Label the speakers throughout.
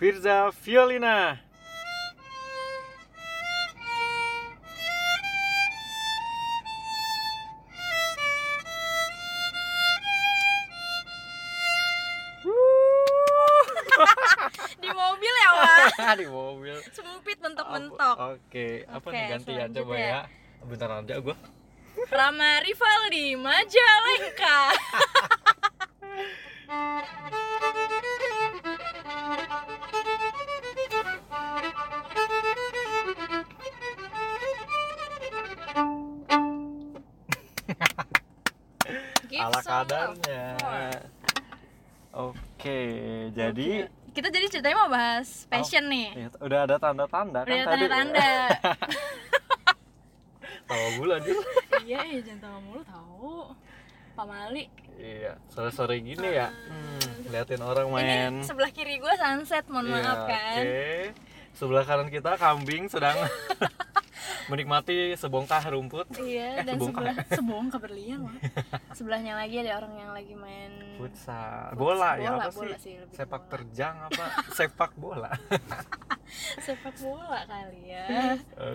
Speaker 1: Reza Violina.
Speaker 2: di mobil ya Wak
Speaker 1: di mobil.
Speaker 2: sempit mentok-mentok
Speaker 1: Apa- Oke, apa
Speaker 2: Oke,
Speaker 1: nih gantian coba
Speaker 2: selanjutnya.
Speaker 1: ya. Bentar ada gua.
Speaker 2: Rama Rivaldi Majalengka Give
Speaker 1: Ala
Speaker 2: some love
Speaker 1: kadarnya.
Speaker 2: for-
Speaker 1: Oke, jadi
Speaker 2: Iya. kita jadi ceritanya mau bahas passion nih
Speaker 1: lihat, udah ada tanda-tanda Oh, iya. kan
Speaker 2: udah ada
Speaker 1: tadi.
Speaker 2: tanda-tanda
Speaker 1: Tawa bulan dia.
Speaker 2: iya iya jangan tahu mulu tahu Pak Mali
Speaker 1: Iya, sore-sore gini ya. Hmm, liatin orang main.
Speaker 2: ini sebelah kiri gue sunset mohon
Speaker 1: Iya,
Speaker 2: maaf kan
Speaker 1: Oke. Sebelah kanan kita kambing sedang menikmati sebongkah rumput
Speaker 2: Iya,
Speaker 1: Eh,
Speaker 2: dan
Speaker 1: sebongkah
Speaker 2: sebelah sebongkah berlian lah. Sebelahnya lagi ada orang yang lagi main
Speaker 1: futsal.
Speaker 2: Futs-
Speaker 1: Bola, ya
Speaker 2: bola,
Speaker 1: apa
Speaker 2: bola
Speaker 1: sih?
Speaker 2: sih, lebih ke
Speaker 1: Sepak
Speaker 2: bola.
Speaker 1: terjang apa? Sepak bola.
Speaker 2: sepak bola kali ya.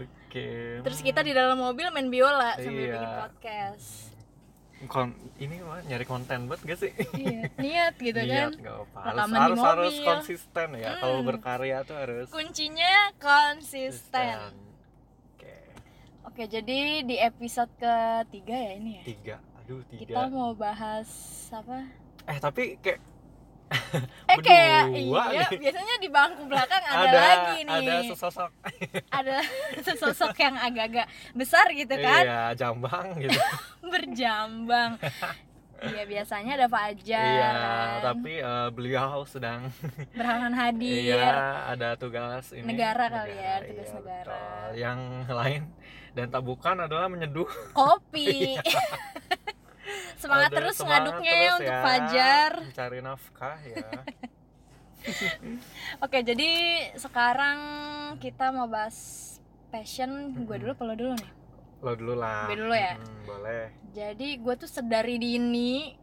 Speaker 1: Oke.
Speaker 2: Terus kita di dalam mobil main biola sambil
Speaker 1: Iya.
Speaker 2: bikin podcast.
Speaker 1: Kon ini mah nyari konten buat gak sih?
Speaker 2: Iya, niat gitu kan.
Speaker 1: Niat nggak apa harus,
Speaker 2: Rekaman di
Speaker 1: harus, harus
Speaker 2: mobil.
Speaker 1: konsisten ya kalau
Speaker 2: Mm.
Speaker 1: berkarya tuh harus
Speaker 2: Kuncinya konsisten.
Speaker 1: Oke
Speaker 2: Oke, jadi di episode ketiga ya ini ya.
Speaker 1: tiga aduh
Speaker 2: Kita
Speaker 1: tiga
Speaker 2: mau bahas apa?
Speaker 1: eh tapi kayak
Speaker 2: Eh
Speaker 1: Berdua
Speaker 2: kayak iya,
Speaker 1: nih.
Speaker 2: biasanya di bangku belakang ada,
Speaker 1: ada
Speaker 2: lagi nih.
Speaker 1: ada sesosok
Speaker 2: Ada sesosok yang agak-agak besar gitu kan.
Speaker 1: iya jambang gitu
Speaker 2: berjambang iya biasanya ada Pak Ajar kan?
Speaker 1: iya tapi eh, beliau sedang
Speaker 2: berhalangan hadir
Speaker 1: iya ada tugas ini iya,
Speaker 2: Negara kali ya, tugas negara.
Speaker 1: betul. yang lain dan tak bukan adalah menyeduh
Speaker 2: kopi semangat
Speaker 1: Aduh,
Speaker 2: terus
Speaker 1: Iya. semangat
Speaker 2: ngaduknya ya
Speaker 1: terus
Speaker 2: untuk
Speaker 1: ya,
Speaker 2: Pak Ajar
Speaker 1: mencari nafkah ya
Speaker 2: oke jadi sekarang kita mau bahas passion gue dulu perlu dulu nih
Speaker 1: lo dulu lah
Speaker 2: Gue dulu ya?
Speaker 1: Mm, boleh
Speaker 2: jadi gue tuh sedari dini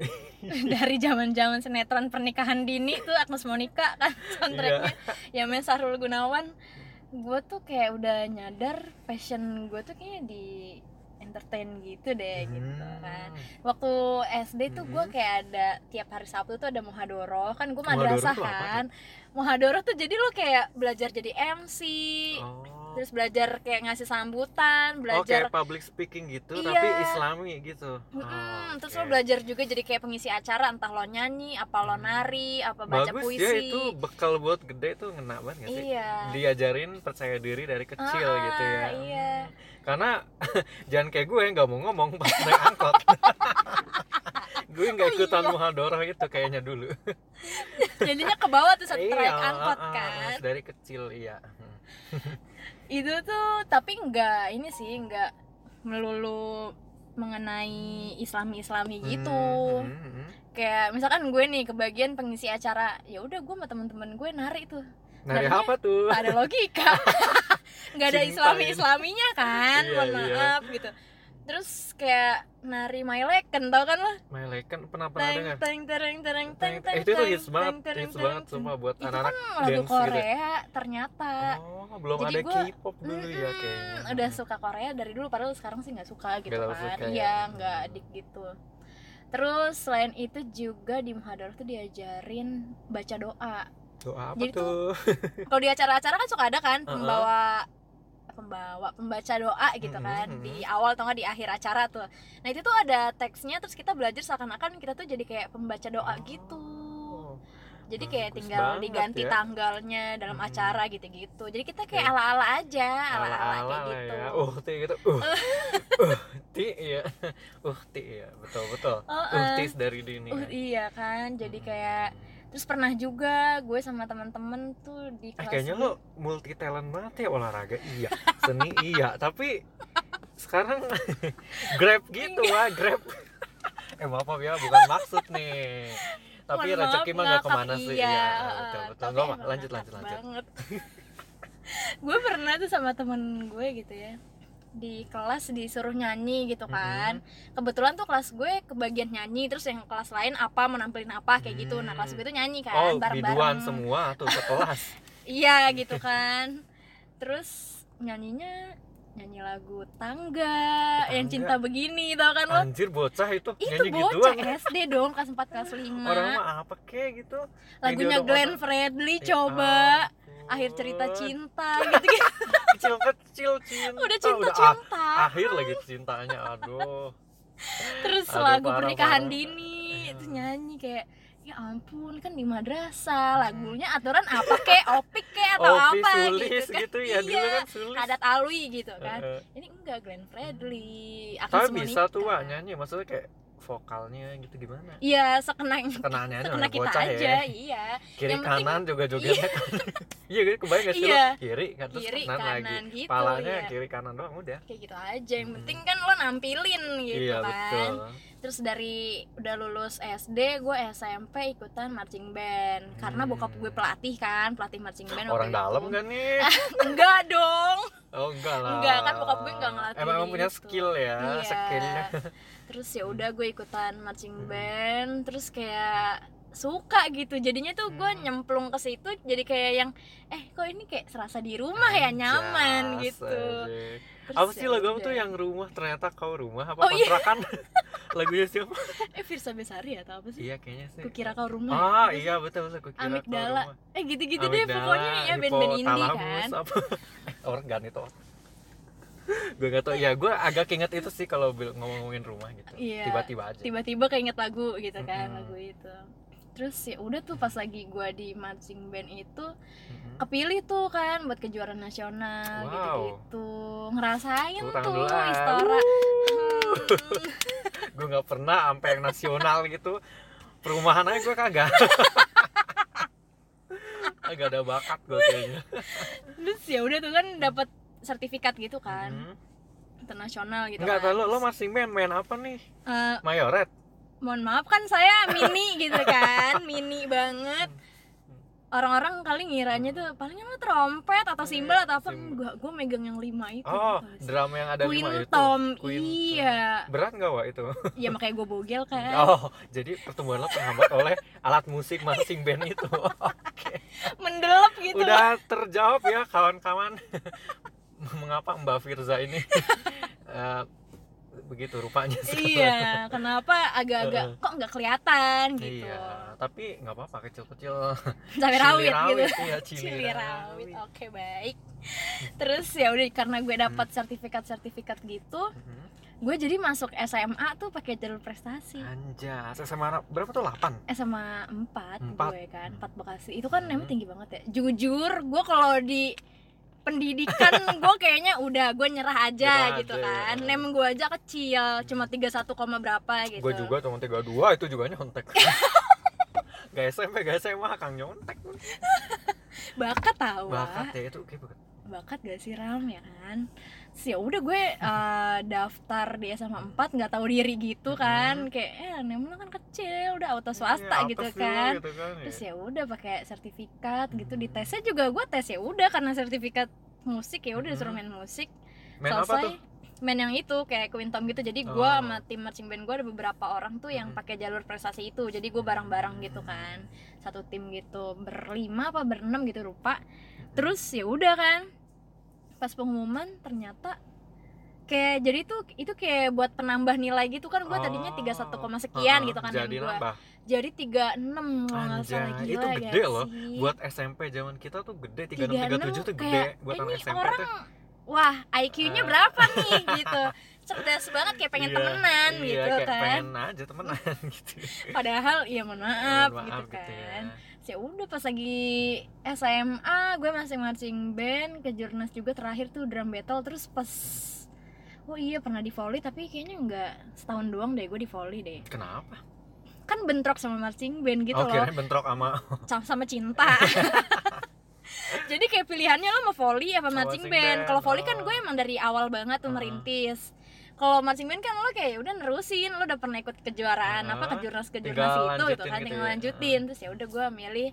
Speaker 2: dari zaman zaman sinetron pernikahan dini tuh Agnes Monica kan
Speaker 1: Iya.
Speaker 2: soundtracknya ya main Sahrul Gunawan gue tuh kayak udah nyadar passion gue tuh kayaknya di entertain gitu deh
Speaker 1: Hmm.
Speaker 2: gitu kan waktu SD tuh gue
Speaker 1: Mhm.
Speaker 2: kayak ada tiap hari Sabtu tuh ada Muhadoro kan gue
Speaker 1: Muhadoro
Speaker 2: madrasah
Speaker 1: tuh apa
Speaker 2: kan Muhadoro tuh jadi lo kayak belajar jadi MC
Speaker 1: Oh.
Speaker 2: terus belajar kayak ngasih sambutan belajar
Speaker 1: Oke, public speaking gitu,
Speaker 2: Iya.
Speaker 1: tapi Islami gitu.
Speaker 2: Mm-mm,
Speaker 1: Oh,
Speaker 2: Hmm, terus
Speaker 1: oke.
Speaker 2: lo belajar juga jadi kayak pengisi acara entah lo nyanyi apa lo
Speaker 1: Hmm.
Speaker 2: nari apa baca
Speaker 1: Bagus
Speaker 2: puisi
Speaker 1: ya itu bekal buat gede tuh ngena banget gak sih?
Speaker 2: iya
Speaker 1: Diajarin percaya diri dari kecil
Speaker 2: Ah,
Speaker 1: gitu ya.
Speaker 2: iya.
Speaker 1: Karena jangan kayak gue nggak mau ngomong pas naik angkot. gue nggak
Speaker 2: Oh,
Speaker 1: ikutan
Speaker 2: iya.
Speaker 1: muhadoroh itu kayaknya dulu.
Speaker 2: jadinya ke bawah tuh saat naik
Speaker 1: Iya,
Speaker 2: angkot
Speaker 1: ah, ah,
Speaker 2: kan
Speaker 1: Dari kecil iya. Hmm.
Speaker 2: itu tuh tapi nggak ini sih nggak melulu mengenai islami islami gitu
Speaker 1: Hmm, hmm, hmm.
Speaker 2: kayak misalkan gue nih kebagian pengisi acara ya udah gue sama temen-temen gue nari tuh
Speaker 1: Nari
Speaker 2: Narinya
Speaker 1: Nah, apa tuh?
Speaker 2: tak ada logika nggak ada
Speaker 1: Cinta
Speaker 2: islami
Speaker 1: ya.
Speaker 2: islaminya kan
Speaker 1: Iya,
Speaker 2: mohon
Speaker 1: iya.
Speaker 2: maaf gitu terus kayak nari my Leken, tau kan lo
Speaker 1: Meleken pernah pernah
Speaker 2: teng
Speaker 1: dengar?
Speaker 2: teng tereng tereng teng
Speaker 1: Eh,
Speaker 2: teng
Speaker 1: itu tuh
Speaker 2: tereng,
Speaker 1: hits banget,
Speaker 2: tereng, tereng,
Speaker 1: hits banget
Speaker 2: tereng,
Speaker 1: semua buat
Speaker 2: tereng.
Speaker 1: anak-anak
Speaker 2: itu kan lagu
Speaker 1: dance gitu.
Speaker 2: Korea ternyata
Speaker 1: Oh, belum
Speaker 2: Jadi
Speaker 1: ada
Speaker 2: gua-
Speaker 1: K-pop dulu ya
Speaker 2: Mm-mm,
Speaker 1: kayaknya.
Speaker 2: udah suka Korea dari dulu padahal sekarang sih nggak suka gitu
Speaker 1: Nggak
Speaker 2: kan
Speaker 1: suka ya.
Speaker 2: iya nggak
Speaker 1: Hmm.
Speaker 2: adik gitu terus selain itu juga di Muhador tuh diajarin baca doa
Speaker 1: Doa apa
Speaker 2: Jadi tuh-
Speaker 1: tuh?
Speaker 2: kalau di acara-acara kan suka ada kan
Speaker 1: Uh-uh.
Speaker 2: pembawa pembawa pembaca doa gitu kan
Speaker 1: Mm-mm,
Speaker 2: di awal atau nggak di akhir acara tuh nah itu tuh ada teksnya terus kita belajar seakan-akan kita tuh jadi kayak pembaca doa
Speaker 1: Oh. Hmm,
Speaker 2: gitu jadi kayak
Speaker 1: bagus
Speaker 2: tinggal
Speaker 1: banget
Speaker 2: diganti
Speaker 1: ya. Hmm.
Speaker 2: tanggalnya dalam
Speaker 1: Mm-mm.
Speaker 2: acara gitu-gitu jadi kita
Speaker 1: Oke.
Speaker 2: kayak ala-ala aja ala-ala
Speaker 1: Ala-ala
Speaker 2: kayak
Speaker 1: lah
Speaker 2: gitu
Speaker 1: ya. Uh, ti gitu. Uh. uh, ti ya. Uh, ti ya. Betul, betul.
Speaker 2: Oh,
Speaker 1: Uh,
Speaker 2: eh.
Speaker 1: tis dari dini.
Speaker 2: Uh,
Speaker 1: kan.
Speaker 2: iya kan jadi
Speaker 1: Hmm.
Speaker 2: kayak terus pernah juga gue sama teman-teman tuh di
Speaker 1: Eh,
Speaker 2: kelas
Speaker 1: kayaknya
Speaker 2: gue.
Speaker 1: lo multi talent banget ya olahraga iya, seni iya, tapi sekarang grab gitu wah, grab. eh maaf maaf ya, bukan maksud nih. Tapi
Speaker 2: Mohon
Speaker 1: rezeki
Speaker 2: maaf,
Speaker 1: mah gak
Speaker 2: ngakak.
Speaker 1: kemana
Speaker 2: iya,
Speaker 1: sih Iya,
Speaker 2: heeh.
Speaker 1: betul, betul.
Speaker 2: Tapi
Speaker 1: Nggak apa,
Speaker 2: emang
Speaker 1: lanjut
Speaker 2: ngakak
Speaker 1: lanjut lanjut
Speaker 2: banget. gue pernah tuh sama temen gue gitu ya di kelas disuruh nyanyi gitu kan kebetulan tuh kelas gue kebagian nyanyi terus yang kelas lain apa menampilin apa kayak gitu nah kelas gue tuh nyanyi kan
Speaker 1: Mm. Oh,
Speaker 2: bareng
Speaker 1: biduan
Speaker 2: bareng
Speaker 1: semua tuh sekelas
Speaker 2: iya gitu kan terus nyanyinya nyanyi lagu tangga, yang
Speaker 1: Tangga.
Speaker 2: cinta begini tau kan lo
Speaker 1: Anjir bocah itu,
Speaker 2: itu
Speaker 1: nyanyi
Speaker 2: bocah
Speaker 1: gituan.
Speaker 2: SD dong kelas 4 kelas 5
Speaker 1: Orang mah apa kek gitu.
Speaker 2: lagunya
Speaker 1: Video
Speaker 2: Glenn
Speaker 1: doang.
Speaker 2: Fredly
Speaker 1: Ya
Speaker 2: coba
Speaker 1: ampun.
Speaker 2: akhir cerita cinta gitu gitu
Speaker 1: Kecil-kecil cinta.
Speaker 2: udah
Speaker 1: udah
Speaker 2: cinta
Speaker 1: ah,
Speaker 2: cinta
Speaker 1: akhir lagi cintanya aduh
Speaker 2: terus
Speaker 1: Aduh,
Speaker 2: lagu
Speaker 1: parah,
Speaker 2: pernikahan
Speaker 1: parah.
Speaker 2: dini
Speaker 1: Iya.
Speaker 2: itu nyanyi kayak ya ampun kan di madrasah lagunya aturan apa kek opik kek atau
Speaker 1: Opi
Speaker 2: apa
Speaker 1: sulis
Speaker 2: gitu kan
Speaker 1: gitu, ya dulu
Speaker 2: Iya,
Speaker 1: kan sulis
Speaker 2: adat alwi gitu kan
Speaker 1: Eh, eh.
Speaker 2: ini enggak Glenn Fredly akan
Speaker 1: tapi
Speaker 2: semua
Speaker 1: bisa tuh
Speaker 2: nikah.
Speaker 1: Wak, nyanyi maksudnya kayak vokalnya gitu gimana
Speaker 2: iya sekenang
Speaker 1: kenanya
Speaker 2: sekena
Speaker 1: anak
Speaker 2: kita
Speaker 1: bocah
Speaker 2: aja
Speaker 1: ya
Speaker 2: iya
Speaker 1: kiri
Speaker 2: Yang penting-
Speaker 1: kanan juga jogetnya iya gitu kebayang gak sih lo?
Speaker 2: Iya.
Speaker 1: kiri kan terus
Speaker 2: kiri
Speaker 1: kanan,
Speaker 2: kanan
Speaker 1: lagi
Speaker 2: gitu
Speaker 1: palanya
Speaker 2: ya.
Speaker 1: kiri kanan doang udah
Speaker 2: kayak gitu aja yang
Speaker 1: Mm-mm.
Speaker 2: penting kan lo nampilin gitu
Speaker 1: iya
Speaker 2: kan
Speaker 1: betul
Speaker 2: terus dari udah lulus SD gue SMP ikutan marching band karena
Speaker 1: Hmm.
Speaker 2: bokap gue pelatih kan pelatih marching band
Speaker 1: orang
Speaker 2: waktu
Speaker 1: dalam
Speaker 2: itu.
Speaker 1: kan nih
Speaker 2: enggak dong
Speaker 1: oh enggak lah
Speaker 2: Enggak, kan bokap gue enggak ngelatih
Speaker 1: emang, emang punya
Speaker 2: gitu.
Speaker 1: skill ya
Speaker 2: Iya.
Speaker 1: skillnya
Speaker 2: terus ya udah gue ikutan marching
Speaker 1: Hmm.
Speaker 2: band terus kayak suka gitu jadinya tuh gue
Speaker 1: Hmm.
Speaker 2: nyemplung ke situ jadi kayak yang eh kok ini kayak serasa di rumah ya nyaman
Speaker 1: Anjas,
Speaker 2: gitu
Speaker 1: anjing.
Speaker 2: Terus
Speaker 1: apa
Speaker 2: ya
Speaker 1: sih lagu kamu tuh
Speaker 2: udah.
Speaker 1: yang rumah ternyata kau rumah apa
Speaker 2: Oh, iya.
Speaker 1: kontrakan lagunya siapa
Speaker 2: eh Firsa Besari atau apa sih
Speaker 1: iya kayaknya sih
Speaker 2: kukira kau rumah
Speaker 1: ah Oh, iya betul betul kukira
Speaker 2: Amigdala.
Speaker 1: kau rumah
Speaker 2: eh gitu-gitu deh pokoknya ya
Speaker 1: Amigdala,
Speaker 2: band-band indie
Speaker 1: Hippothalamus,
Speaker 2: kan
Speaker 1: apa orang gan itu gue gak tau ya gue agak inget itu sih kalau bil- ngomong-ngomongin rumah gitu
Speaker 2: Iya.
Speaker 1: tiba-tiba aja
Speaker 2: tiba-tiba keinget lagu gitu kan
Speaker 1: Mm-mm.
Speaker 2: lagu itu terus ya udah tuh pas lagi gua di marching band itu
Speaker 1: Mm-mm.
Speaker 2: kepilih tuh kan buat kejuaraan nasional
Speaker 1: Wow.
Speaker 2: gitu-gitu ngerasain
Speaker 1: Tepuk tangan
Speaker 2: tuh
Speaker 1: dulu ah.
Speaker 2: istora Hmm.
Speaker 1: gue nggak pernah sampai yang nasional gitu perumahan aja gue kagak agak ada bakat gue kayaknya
Speaker 2: terus ya udah tuh kan dapat sertifikat gitu kan
Speaker 1: Mm-mm.
Speaker 2: internasional gitu
Speaker 1: Enggak,
Speaker 2: kan
Speaker 1: lo lo masih main main apa nih?
Speaker 2: Eh,
Speaker 1: Mayoret.
Speaker 2: mohon maaf kan saya mini gitu kan mini banget orang-orang kali ngiranya tuh palingan lo trompet atau simbal atau apa
Speaker 1: Simbal.
Speaker 2: enggak gue megang yang lima itu
Speaker 1: Iya, Oh,
Speaker 2: gitu.
Speaker 1: drum yang ada
Speaker 2: Queen
Speaker 1: lima itu.
Speaker 2: Tom,
Speaker 1: Queen Tom.
Speaker 2: iya
Speaker 1: Berat nggak Wak itu?
Speaker 2: ya makanya gue bogel kan
Speaker 1: Oh, jadi pertumbuhan lo terhambat oleh alat musik masing band itu. Oke.
Speaker 2: mendelep gitu loh.
Speaker 1: Udah terjawab ya kawan-kawan. Mengapa Mbak Firza ini eh, begitu rupanya sekarang.
Speaker 2: iya kenapa agak-agak kok nggak kelihatan gitu
Speaker 1: Iya, tapi nggak apa-apa kecil-kecil.
Speaker 2: cabai rawit gitu
Speaker 1: Iya, cili,
Speaker 2: cili
Speaker 1: rawit.
Speaker 2: rawit oh. oke baik terus ya udah karena gue dapat
Speaker 1: Hmm.
Speaker 2: sertifikat-sertifikat gitu
Speaker 1: Mhm.
Speaker 2: gue jadi masuk SMA tuh pakai jalur prestasi
Speaker 1: Ah. Anjas, SMA berapa tuh? 8?
Speaker 2: SMA 4,
Speaker 1: Empat.
Speaker 2: gue kan 4 Bekasi itu kan emang
Speaker 1: Hmm.
Speaker 2: tinggi banget ya jujur gue kalau di pendidikan gue kayaknya udah gue nyerah aja
Speaker 1: Nyerah
Speaker 2: gitu
Speaker 1: aja,
Speaker 2: kan
Speaker 1: ya.
Speaker 2: nem gue aja kecil cuma 31, koma berapa gitu
Speaker 1: Gue juga cuma 32 itu juga nyontek. gak SMP, gak SMA, Kang nyontek.
Speaker 2: bakat tau
Speaker 1: Bakat
Speaker 2: bakat.
Speaker 1: ya itu kayak bakat.
Speaker 2: bakat gak sih ram ya kan Terus ya udah gue eh, daftar di SMA 4 nggak tahu diri gitu kan kayak eh nem lo kan kecil udah auto swasta
Speaker 1: Iya,
Speaker 2: gitu
Speaker 1: apa sih lu
Speaker 2: kan
Speaker 1: gitu kan, ya?
Speaker 2: terus ya udah pakai sertifikat gitu di tesnya juga gue tes ya udah karena sertifikat musik ya udah disuruh main musik
Speaker 1: Main apa
Speaker 2: selesai
Speaker 1: tuh?
Speaker 2: main yang itu kayak Quintom gitu jadi gue
Speaker 1: Oh.
Speaker 2: sama tim marching band gue ada beberapa orang tuh yang
Speaker 1: Mhm.
Speaker 2: pakai jalur prestasi itu jadi gue bareng-bareng gitu kan satu tim gitu berlima apa berenam gitu lupa terus ya udah kan pas pengumuman ternyata kayak jadi tuh itu kayak buat penambah nilai gitu kan gue tadinya
Speaker 1: Oh.
Speaker 2: 31, sekian
Speaker 1: Heeh,
Speaker 2: gitu kan
Speaker 1: Jadi
Speaker 2: gue
Speaker 1: nambah.
Speaker 2: jadi 36 kalau nggak salah
Speaker 1: Anjay,
Speaker 2: gila
Speaker 1: itu
Speaker 2: gak
Speaker 1: gede loh.
Speaker 2: sih?
Speaker 1: Buat SMP zaman kita tuh gede
Speaker 2: 36 Iya.
Speaker 1: 36 37 tuh gede
Speaker 2: kayak,
Speaker 1: buat anak
Speaker 2: ini
Speaker 1: SMP
Speaker 2: orang
Speaker 1: tuh.
Speaker 2: wah IQ-nya
Speaker 1: Ah.
Speaker 2: berapa nih gitu cerdas banget kayak pengen
Speaker 1: Iya,
Speaker 2: temenan
Speaker 1: iya,
Speaker 2: gitu
Speaker 1: kayak
Speaker 2: kan
Speaker 1: pengen aja temenan gitu.
Speaker 2: padahal ya mohon maaf,
Speaker 1: Mohon
Speaker 2: gitu
Speaker 1: maaf gitu ya.
Speaker 2: kan ya udah pas lagi SMA gue masih marching band ke jurnas juga terakhir tuh drum battle terus pas oh iya pernah di volley tapi kayaknya nggak setahun doang deh gue di volley deh
Speaker 1: Kenapa?
Speaker 2: kan bentrok sama marching band gitu
Speaker 1: oh,
Speaker 2: loh
Speaker 1: kirain bentrok sama
Speaker 2: sama, sama cinta jadi kayak pilihannya lo mau volley apa
Speaker 1: Sama
Speaker 2: marching
Speaker 1: marching
Speaker 2: band
Speaker 1: band,
Speaker 2: kalau volley kan
Speaker 1: oh. Uh-huh.
Speaker 2: gue emang dari awal banget tuh
Speaker 1: Heeh.
Speaker 2: merintis kalau marching band kan lo kayak udah nerusin lo udah pernah ikut kejuaraan apa
Speaker 1: Heeh.
Speaker 2: kejurnas
Speaker 1: Uh-huh. Tinggal
Speaker 2: kejurnas itu gitu
Speaker 1: lanjutin
Speaker 2: kan
Speaker 1: gitu
Speaker 2: tinggal
Speaker 1: ya.
Speaker 2: lanjutin terus ya udah gue milih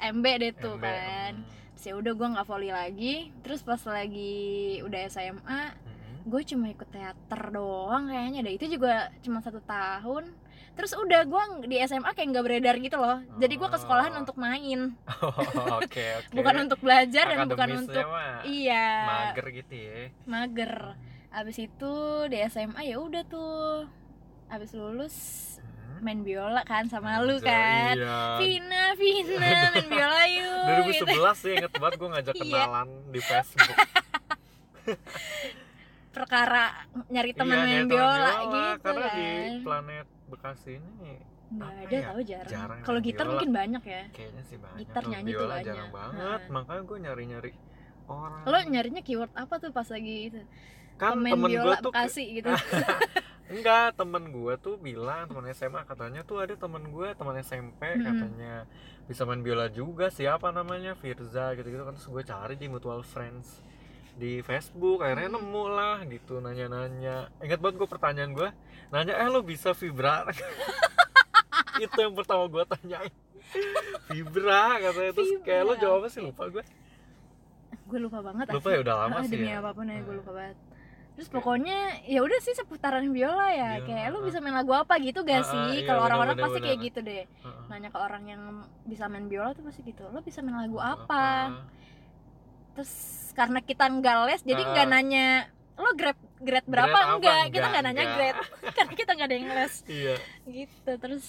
Speaker 2: MB deh tuh
Speaker 1: MB,
Speaker 2: kan
Speaker 1: mm,
Speaker 2: terus ya udah gue nggak volley lagi terus pas lagi udah SMA
Speaker 1: mm,
Speaker 2: gue cuma ikut teater doang kayaknya deh itu juga cuma satu tahun terus udah gue di SMA kayak nggak beredar gitu loh jadi gue ke sekolahan
Speaker 1: Oh.
Speaker 2: untuk main
Speaker 1: Oh, Oke oke.
Speaker 2: bukan untuk belajar dan bukan
Speaker 1: Akademisnya
Speaker 2: untuk
Speaker 1: mah
Speaker 2: iya Hmm.
Speaker 1: mager gitu ya.
Speaker 2: mager abis itu di SMA ya udah tuh abis lulus
Speaker 1: Hmm.
Speaker 2: main biola kan sama lu
Speaker 1: Anjay,
Speaker 2: kan
Speaker 1: Iya.
Speaker 2: Vina Vina main biola yuk gitu.
Speaker 1: 2011 ya inget banget gue ngajak
Speaker 2: Iya.
Speaker 1: kenalan di Facebook.
Speaker 2: perkara nyari teman
Speaker 1: Iya,
Speaker 2: main
Speaker 1: kayak teman
Speaker 2: biola, gitu
Speaker 1: Karena
Speaker 2: kan
Speaker 1: di planet Bekasi ini
Speaker 2: nggak
Speaker 1: apa
Speaker 2: ada
Speaker 1: ya?
Speaker 2: tahu jarang,
Speaker 1: Jarang
Speaker 2: kalau
Speaker 1: main
Speaker 2: gitar
Speaker 1: biola.
Speaker 2: mungkin banyak ya
Speaker 1: kayaknya sih banyak.
Speaker 2: Gitar
Speaker 1: Kalau
Speaker 2: nyanyi tuh
Speaker 1: biola
Speaker 2: gitu banyak.
Speaker 1: jarang banget.
Speaker 2: Ha.
Speaker 1: Makanya gue nyari-nyari orang.
Speaker 2: lo nyarinya keyword apa tuh pas lagi itu
Speaker 1: kan
Speaker 2: pemain
Speaker 1: temen gue
Speaker 2: biola
Speaker 1: tuh Ah.
Speaker 2: Bekasi gitu
Speaker 1: enggak temen gue tuh bilang temen SMA katanya tuh ada temen gue temen SMP
Speaker 2: Mm-mm.
Speaker 1: katanya bisa main biola juga siapa namanya Firza gitu-gitu kan terus gue cari di Mutual Friends di Facebook akhirnya
Speaker 2: Mm.
Speaker 1: nemu lah gitu nanya-nanya ingat banget gue pertanyaan gue nanya eh lo bisa vibra itu yang pertama gue tanyain vibra katanya terus kayak lo
Speaker 2: Vibra,
Speaker 1: jawabnya sih lupa gue
Speaker 2: gue lupa banget
Speaker 1: lupa
Speaker 2: asli.
Speaker 1: ya udah lama
Speaker 2: Ah,
Speaker 1: sih
Speaker 2: demi
Speaker 1: ya
Speaker 2: apapun ya gue
Speaker 1: Hmm.
Speaker 2: lupa banget terus pokoknya ya udah sih seputaran biola ya
Speaker 1: Biola,
Speaker 2: kayak
Speaker 1: ah.
Speaker 2: lu bisa main lagu apa gitu
Speaker 1: Ah,
Speaker 2: gak
Speaker 1: ah,
Speaker 2: sih
Speaker 1: iya,
Speaker 2: kalau orang-orang
Speaker 1: benar-benar,
Speaker 2: pasti kayak
Speaker 1: benar.
Speaker 2: gitu deh
Speaker 1: Heeh.
Speaker 2: nanya ke orang yang bisa main biola tuh pasti gitu lo bisa main lagu apa, terus karena kita nggak les jadi
Speaker 1: Ah,
Speaker 2: nggak
Speaker 1: ah.
Speaker 2: nanya lo grade grade
Speaker 1: Grade
Speaker 2: berapa
Speaker 1: apa?
Speaker 2: enggak kita
Speaker 1: Enggak,
Speaker 2: nggak nanya
Speaker 1: enggak.
Speaker 2: grade karena kita nggak ada yang les
Speaker 1: iya
Speaker 2: gitu terus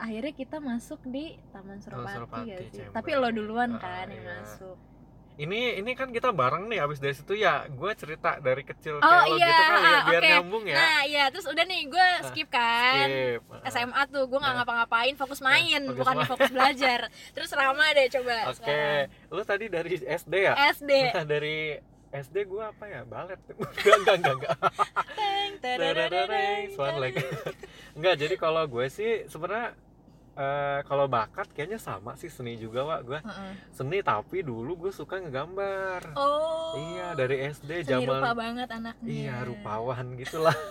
Speaker 2: akhirnya kita masuk di Taman Suropati,
Speaker 1: Suropati,
Speaker 2: gak sih?
Speaker 1: Cember.
Speaker 2: tapi lo duluan
Speaker 1: Ah,
Speaker 2: kan yang
Speaker 1: iya.
Speaker 2: masuk
Speaker 1: ini ini kan kita bareng nih abis dari situ ya gue cerita dari
Speaker 2: Oh,
Speaker 1: kecil kayak lo
Speaker 2: iya,
Speaker 1: gitu kali ya
Speaker 2: ah,
Speaker 1: biar
Speaker 2: oke.
Speaker 1: nyambung ya
Speaker 2: nah iya terus udah nih gue
Speaker 1: Ah,
Speaker 2: skip kan
Speaker 1: Skip. Ah,
Speaker 2: SMA tuh gue nggak
Speaker 1: Nah.
Speaker 2: ngapa-ngapain fokus main
Speaker 1: fokus
Speaker 2: bukan
Speaker 1: main.
Speaker 2: fokus belajar terus Rama deh coba Nah,
Speaker 1: oke
Speaker 2: sekarang.
Speaker 1: lu tadi dari SD ya
Speaker 2: SD
Speaker 1: nah, dari SD gue apa ya balet enggak enggak enggak enggak
Speaker 2: Teng,
Speaker 1: Dadadadadeng,
Speaker 2: tadadadadeng,
Speaker 1: swan leg. enggak jadi kalau gue sih sebenarnya eh, kalau bakat kayaknya sama sih seni juga wa gue
Speaker 2: Heeh.
Speaker 1: seni tapi dulu gue suka ngegambar
Speaker 2: oh
Speaker 1: iya dari SD
Speaker 2: seni
Speaker 1: zaman
Speaker 2: rupa banget anaknya
Speaker 1: Iya rupawan gitulah.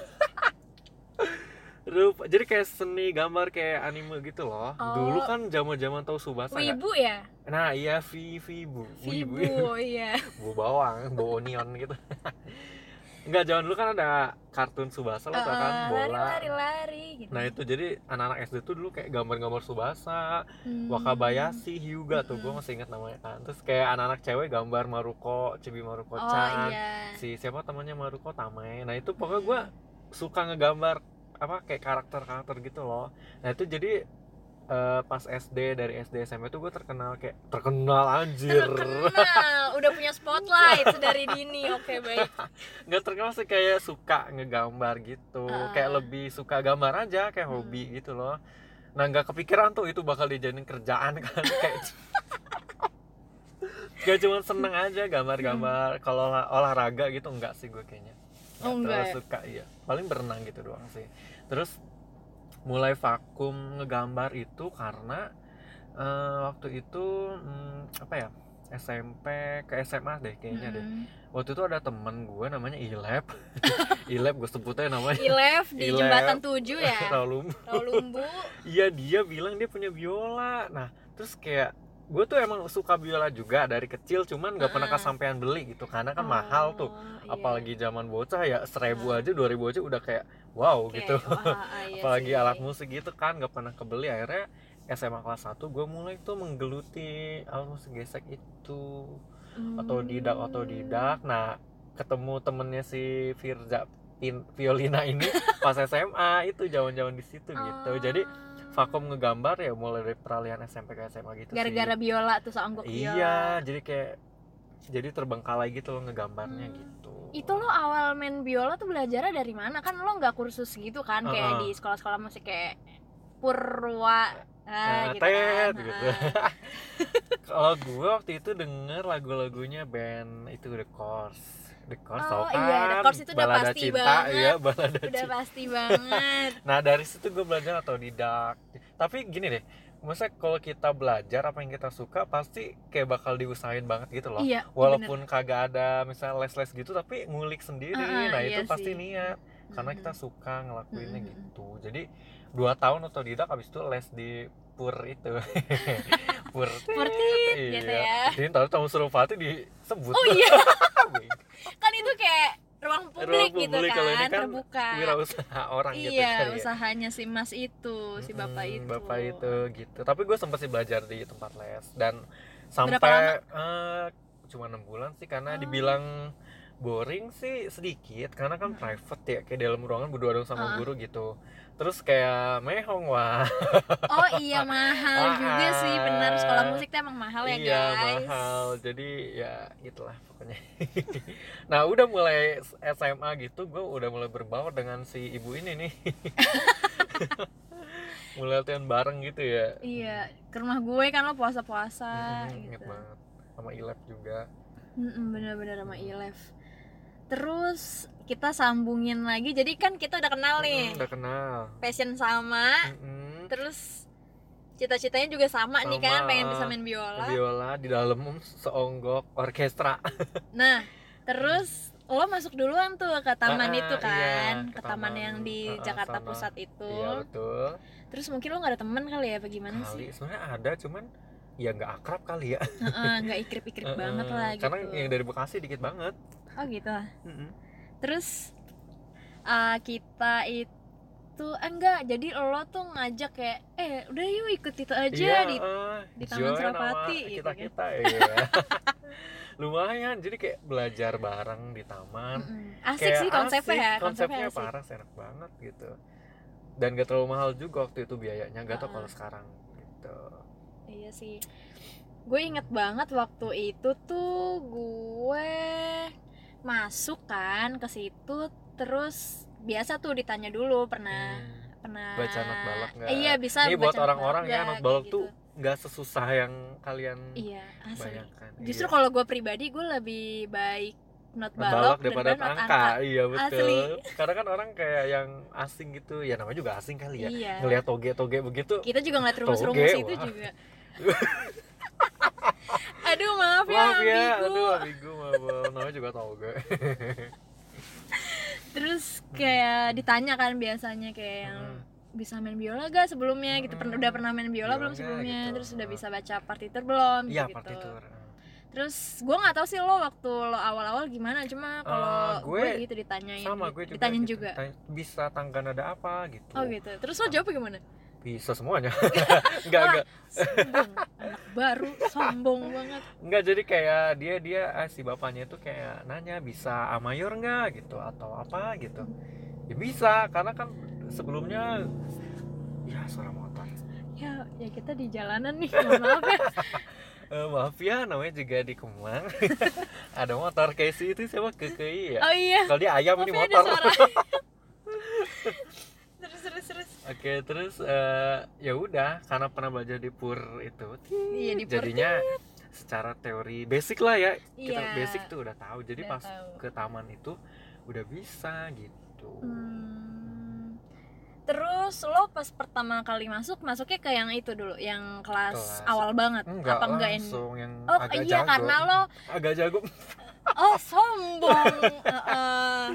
Speaker 1: Rupa, jadi kayak seni gambar kayak anime gitu
Speaker 2: Oh.
Speaker 1: loh. Dulu kan zaman-zaman tahu Subasa nggak?
Speaker 2: Wibu ya
Speaker 1: Nah iya vi Vibu,
Speaker 2: Wibu iya
Speaker 1: bu bawang, bu onion gitu. Enggak zaman dulu kan ada kartun Subasa loh tau kan
Speaker 2: Eh,
Speaker 1: bola.
Speaker 2: lari lari lari gitu
Speaker 1: Nah itu jadi anak-anak SD tuh dulu kayak gambar-gambar Subasa,
Speaker 2: Hmm.
Speaker 1: Wakabayashi, Hyuga tuh gue
Speaker 2: Mm-mm.
Speaker 1: masih ingat namanya kan. Terus kayak anak-anak cewek gambar Maruko, Chibi
Speaker 2: oh
Speaker 1: Maruko Chan
Speaker 2: iya
Speaker 1: si siapa temannya Maruko Tamae nah itu pokoknya gue suka ngegambar apa kayak karakter karakter gitu loh nah itu jadi eh, pas SD dari SD SMP E tuh gue terkenal kayak terkenal anjir
Speaker 2: terkenal udah punya spotlight dari dini oke baik
Speaker 1: nggak terkenal sih kayak suka ngegambar gitu
Speaker 2: Ah. Hmm.
Speaker 1: kayak lebih suka gambar aja kayak hobi gitu loh nah nggak kepikiran tuh itu bakal dijadiin kerjaan kan kayak Gak cuma seneng aja gambar-gambar kalau olah- olahraga gitu enggak sih gue kayaknya
Speaker 2: Hmm. Oh,
Speaker 1: Nggak
Speaker 2: enggak
Speaker 1: terlalu
Speaker 2: ya?
Speaker 1: suka iya paling berenang gitu doang sih terus mulai vakum ngegambar itu karena eh, waktu itu hmm, apa ya SMP ke SMA deh kayaknya deh
Speaker 2: Mm-mm.
Speaker 1: waktu itu ada temen gue namanya Ilep Ilep gue sebutnya namanya
Speaker 2: Ilef di
Speaker 1: Ilef.
Speaker 2: jembatan 7 ya
Speaker 1: Raulum
Speaker 2: Raulumbu
Speaker 1: iya dia bilang dia punya biola nah terus kayak gue tuh emang suka biola juga dari kecil cuman nggak pernah
Speaker 2: Heeh.
Speaker 1: kesampaian beli gitu karena
Speaker 2: Oh,
Speaker 1: kan mahal tuh
Speaker 2: iya,
Speaker 1: apalagi zaman bocah ya seribu aja dua ribu aja udah kayak wow
Speaker 2: Iya,
Speaker 1: gitu apalagi alat musik gitu kan nggak pernah kebeli akhirnya SMA kelas 1 gue mulai tuh menggeluti alat musik gesek itu
Speaker 2: Hmm.
Speaker 1: otodidak otodidak nah ketemu temennya si Firza Pin- Violina ini pas SMA itu jaman-jaman di
Speaker 2: Oh.
Speaker 1: situ gitu jadi vakum ngegambar ya mulai dari peralihan SMP ke SMA gitu sih.
Speaker 2: gara-gara biola tuh seonggok biola
Speaker 1: iya jadi kayak jadi terbengkalai gitu loh ngegambarnya
Speaker 2: Hmm.
Speaker 1: gitu
Speaker 2: itu lo awal main biola tuh belajarnya dari mana kan lo nggak kursus gitu kan kayak
Speaker 1: Heeh.
Speaker 2: di sekolah-sekolah musik kayak Purwa ah,
Speaker 1: Nah,
Speaker 2: gitu
Speaker 1: tet,
Speaker 2: kan
Speaker 1: gitu.
Speaker 2: Ah.
Speaker 1: Kalau gue waktu itu denger lagu-lagunya band itu The Course. The Course
Speaker 2: Oh,
Speaker 1: tau kan?
Speaker 2: iya, The Course itu udah
Speaker 1: balada
Speaker 2: pasti
Speaker 1: cinta,
Speaker 2: banget.
Speaker 1: iya balada
Speaker 2: udah
Speaker 1: cinta.
Speaker 2: pasti banget
Speaker 1: Nah dari situ gue belajar atau didak. Tapi gini deh, maksudnya kalau kita belajar apa yang kita suka pasti kayak bakal diusahain banget gitu loh.
Speaker 2: iya
Speaker 1: Walaupun kagak ada misalnya les-les gitu tapi ngulik sendiri.
Speaker 2: Ah, ah,
Speaker 1: nah
Speaker 2: iya
Speaker 1: itu
Speaker 2: sih.
Speaker 1: pasti niat
Speaker 2: bener.
Speaker 1: karena kita suka ngelakuinnya
Speaker 2: Mm-mm.
Speaker 1: gitu jadi dua tahun otodidak habis itu les di pur itu pur iya.
Speaker 2: Purtit, gitu ya.
Speaker 1: jadi ntar tamu Surupati disebut
Speaker 2: oh iya
Speaker 1: Bing.
Speaker 2: kan itu kayak ruang publik,
Speaker 1: Ruang
Speaker 2: gitu
Speaker 1: publik, kalau ini
Speaker 2: kan,
Speaker 1: kan
Speaker 2: terbuka
Speaker 1: wirausaha orang gitu
Speaker 2: iya
Speaker 1: kan ya.
Speaker 2: usahanya si mas itu si bapak
Speaker 1: Mm-mm,
Speaker 2: itu
Speaker 1: Hmm, bapak itu gitu tapi gue sempat sih belajar di tempat les dan
Speaker 2: lama?
Speaker 1: sampai eh, cuma enam bulan sih
Speaker 2: Oh.
Speaker 1: karena dibilang boring sih sedikit karena kan
Speaker 2: Mm-mm.
Speaker 1: private ya kayak dalam ruangan berdua dong sama
Speaker 2: Hmm. Ah.
Speaker 1: guru gitu terus kayak mehong wah
Speaker 2: oh iya mahal juga sih benar sekolah
Speaker 1: Mahal.
Speaker 2: musik tuh emang mahal ya
Speaker 1: iya
Speaker 2: guys
Speaker 1: mahal jadi ya gitulah pokoknya nah udah mulai SMA gitu gue udah mulai berbaur dengan si ibu ini nih mulai latihan bareng gitu ya
Speaker 2: iya ke rumah gue kan lo puasa puasa
Speaker 1: Mm-mm, Iya, inget
Speaker 2: gitu
Speaker 1: banget sama Ilep juga
Speaker 2: Mm-mm, bener-bener sama Ilef terus kita sambungin lagi jadi kan kita udah kenal nih Nah,
Speaker 1: Mm, udah kenal
Speaker 2: passion sama
Speaker 1: Mm-mm.
Speaker 2: terus cita-citanya juga sama, nih kan
Speaker 1: Sama,
Speaker 2: pengen bisa
Speaker 1: ah.
Speaker 2: main biola
Speaker 1: biola di dalam seonggok orkestra
Speaker 2: nah terus lo masuk duluan tuh ke taman
Speaker 1: Ah, ah,
Speaker 2: itu kan
Speaker 1: iya,
Speaker 2: ke
Speaker 1: ke
Speaker 2: taman
Speaker 1: taman,
Speaker 2: yang di
Speaker 1: ah,
Speaker 2: Jakarta
Speaker 1: sana.
Speaker 2: Pusat itu
Speaker 1: iya betul
Speaker 2: terus mungkin lo nggak ada teman kali ya bagaimana
Speaker 1: kali
Speaker 2: sih
Speaker 1: sebenarnya ada cuman ya nggak akrab kali ya
Speaker 2: Heeh, nggak ikrip-ikrip banget
Speaker 1: Mm-mm.
Speaker 2: lah
Speaker 1: Ah, karena
Speaker 2: gitu
Speaker 1: yang dari Bekasi dikit banget
Speaker 2: oh gitu lah
Speaker 1: Mm-mm.
Speaker 2: terus eh, kita itu ah, enggak jadi lo tuh ngajak kayak eh udah yuk ikut itu aja gitu. di
Speaker 1: eh,
Speaker 2: di Taman
Speaker 1: join
Speaker 2: Surapati
Speaker 1: sama
Speaker 2: gitu
Speaker 1: kita
Speaker 2: kan.
Speaker 1: kita iya lumayan jadi kayak belajar bareng di taman
Speaker 2: Mm-mm. asik
Speaker 1: ah. Kayak
Speaker 2: sih konsepnya
Speaker 1: asik,
Speaker 2: ya
Speaker 1: konsepnya,
Speaker 2: konsepnya, asik
Speaker 1: parah enak banget gitu dan gak terlalu mahal juga waktu itu biayanya gak tau
Speaker 2: Ah.
Speaker 1: kalau sekarang gitu
Speaker 2: iya sih gue inget banget waktu itu tuh gue masuk kan ke situ terus biasa tuh ditanya dulu pernah
Speaker 1: Hmm.
Speaker 2: pernah
Speaker 1: Baca not balak nggak?
Speaker 2: iya bisa
Speaker 1: ini
Speaker 2: Nah, baca
Speaker 1: buat
Speaker 2: not
Speaker 1: orang-orang ya
Speaker 2: nggak,
Speaker 1: not
Speaker 2: kayak
Speaker 1: balok
Speaker 2: gitu.
Speaker 1: tuh nggak sesusah yang kalian
Speaker 2: iya asli
Speaker 1: bayangkan
Speaker 2: justru
Speaker 1: Iya.
Speaker 2: kalau gue pribadi gue lebih baik not
Speaker 1: Not
Speaker 2: balok
Speaker 1: daripada
Speaker 2: daripada not
Speaker 1: angka. iya betul
Speaker 2: Asli.
Speaker 1: karena kan orang kayak yang asing gitu ya namanya juga asing kali ya
Speaker 2: Iya.
Speaker 1: ngelihat toge-toge begitu
Speaker 2: Kita juga ngeliat rumus-rumus
Speaker 1: Toge,
Speaker 2: itu
Speaker 1: wah.
Speaker 2: juga. Aduh maaf ya,
Speaker 1: Maaf ya,
Speaker 2: ambigu.
Speaker 1: aduh ambigu maaf, maaf. namanya juga tau gue.
Speaker 2: Terus kayak ditanya kan biasanya kayak yang bisa main biola gak sebelumnya gitu pernah
Speaker 1: Hmm.
Speaker 2: udah pernah main biola
Speaker 1: Biola
Speaker 2: belum
Speaker 1: nggak
Speaker 2: sebelumnya
Speaker 1: gitu.
Speaker 2: terus udah bisa baca partitur belum
Speaker 1: Iya
Speaker 2: gitu,
Speaker 1: partitur.
Speaker 2: terus gue nggak tahu sih lo waktu lo awal-awal gimana cuma kalau
Speaker 1: Eh,
Speaker 2: gue,
Speaker 1: gue
Speaker 2: gitu ditanyain
Speaker 1: Sama
Speaker 2: gitu.
Speaker 1: gue juga.
Speaker 2: ditanyain
Speaker 1: gitu.
Speaker 2: juga
Speaker 1: Tanya, bisa tangga nada apa gitu.
Speaker 2: oh gitu terus lo jawab gimana
Speaker 1: Bisa semuanya. enggak
Speaker 2: Wah.
Speaker 1: enggak.
Speaker 2: sombong anak baru sombong banget
Speaker 1: Enggak jadi kayak dia dia ah, si bapaknya itu kayak nanya bisa amayor enggak gitu atau apa gitu. Ya bisa karena kan sebelumnya ya suara motor.
Speaker 2: ya ya kita di jalanan nih mohon maaf ya
Speaker 1: Eh, maaf ya namanya juga di Kemang. ada motor Casey itu siapa kekei ya?
Speaker 2: oh iya
Speaker 1: Kalau dia ayam ini
Speaker 2: tapi ada
Speaker 1: motor.
Speaker 2: suara terus terus terus
Speaker 1: Oke, terus eh, ya udah karena pernah belajar di pur itu.
Speaker 2: Iya, di pur,
Speaker 1: Jadinya secara teori basic lah ya. Kita
Speaker 2: Iya.
Speaker 1: basic tuh udah tahu. Jadi
Speaker 2: Udah
Speaker 1: pas
Speaker 2: tahu.
Speaker 1: ke taman itu udah bisa gitu.
Speaker 2: Hmm. terus lo pas pertama kali masuk masuknya ke yang itu dulu yang kelas,
Speaker 1: Kelas.
Speaker 2: awal banget
Speaker 1: Enggak
Speaker 2: apa enggak yang
Speaker 1: langsung yang
Speaker 2: oh
Speaker 1: agak
Speaker 2: iya
Speaker 1: jago.
Speaker 2: karena lo
Speaker 1: agak jago.
Speaker 2: oh sombong Heeh.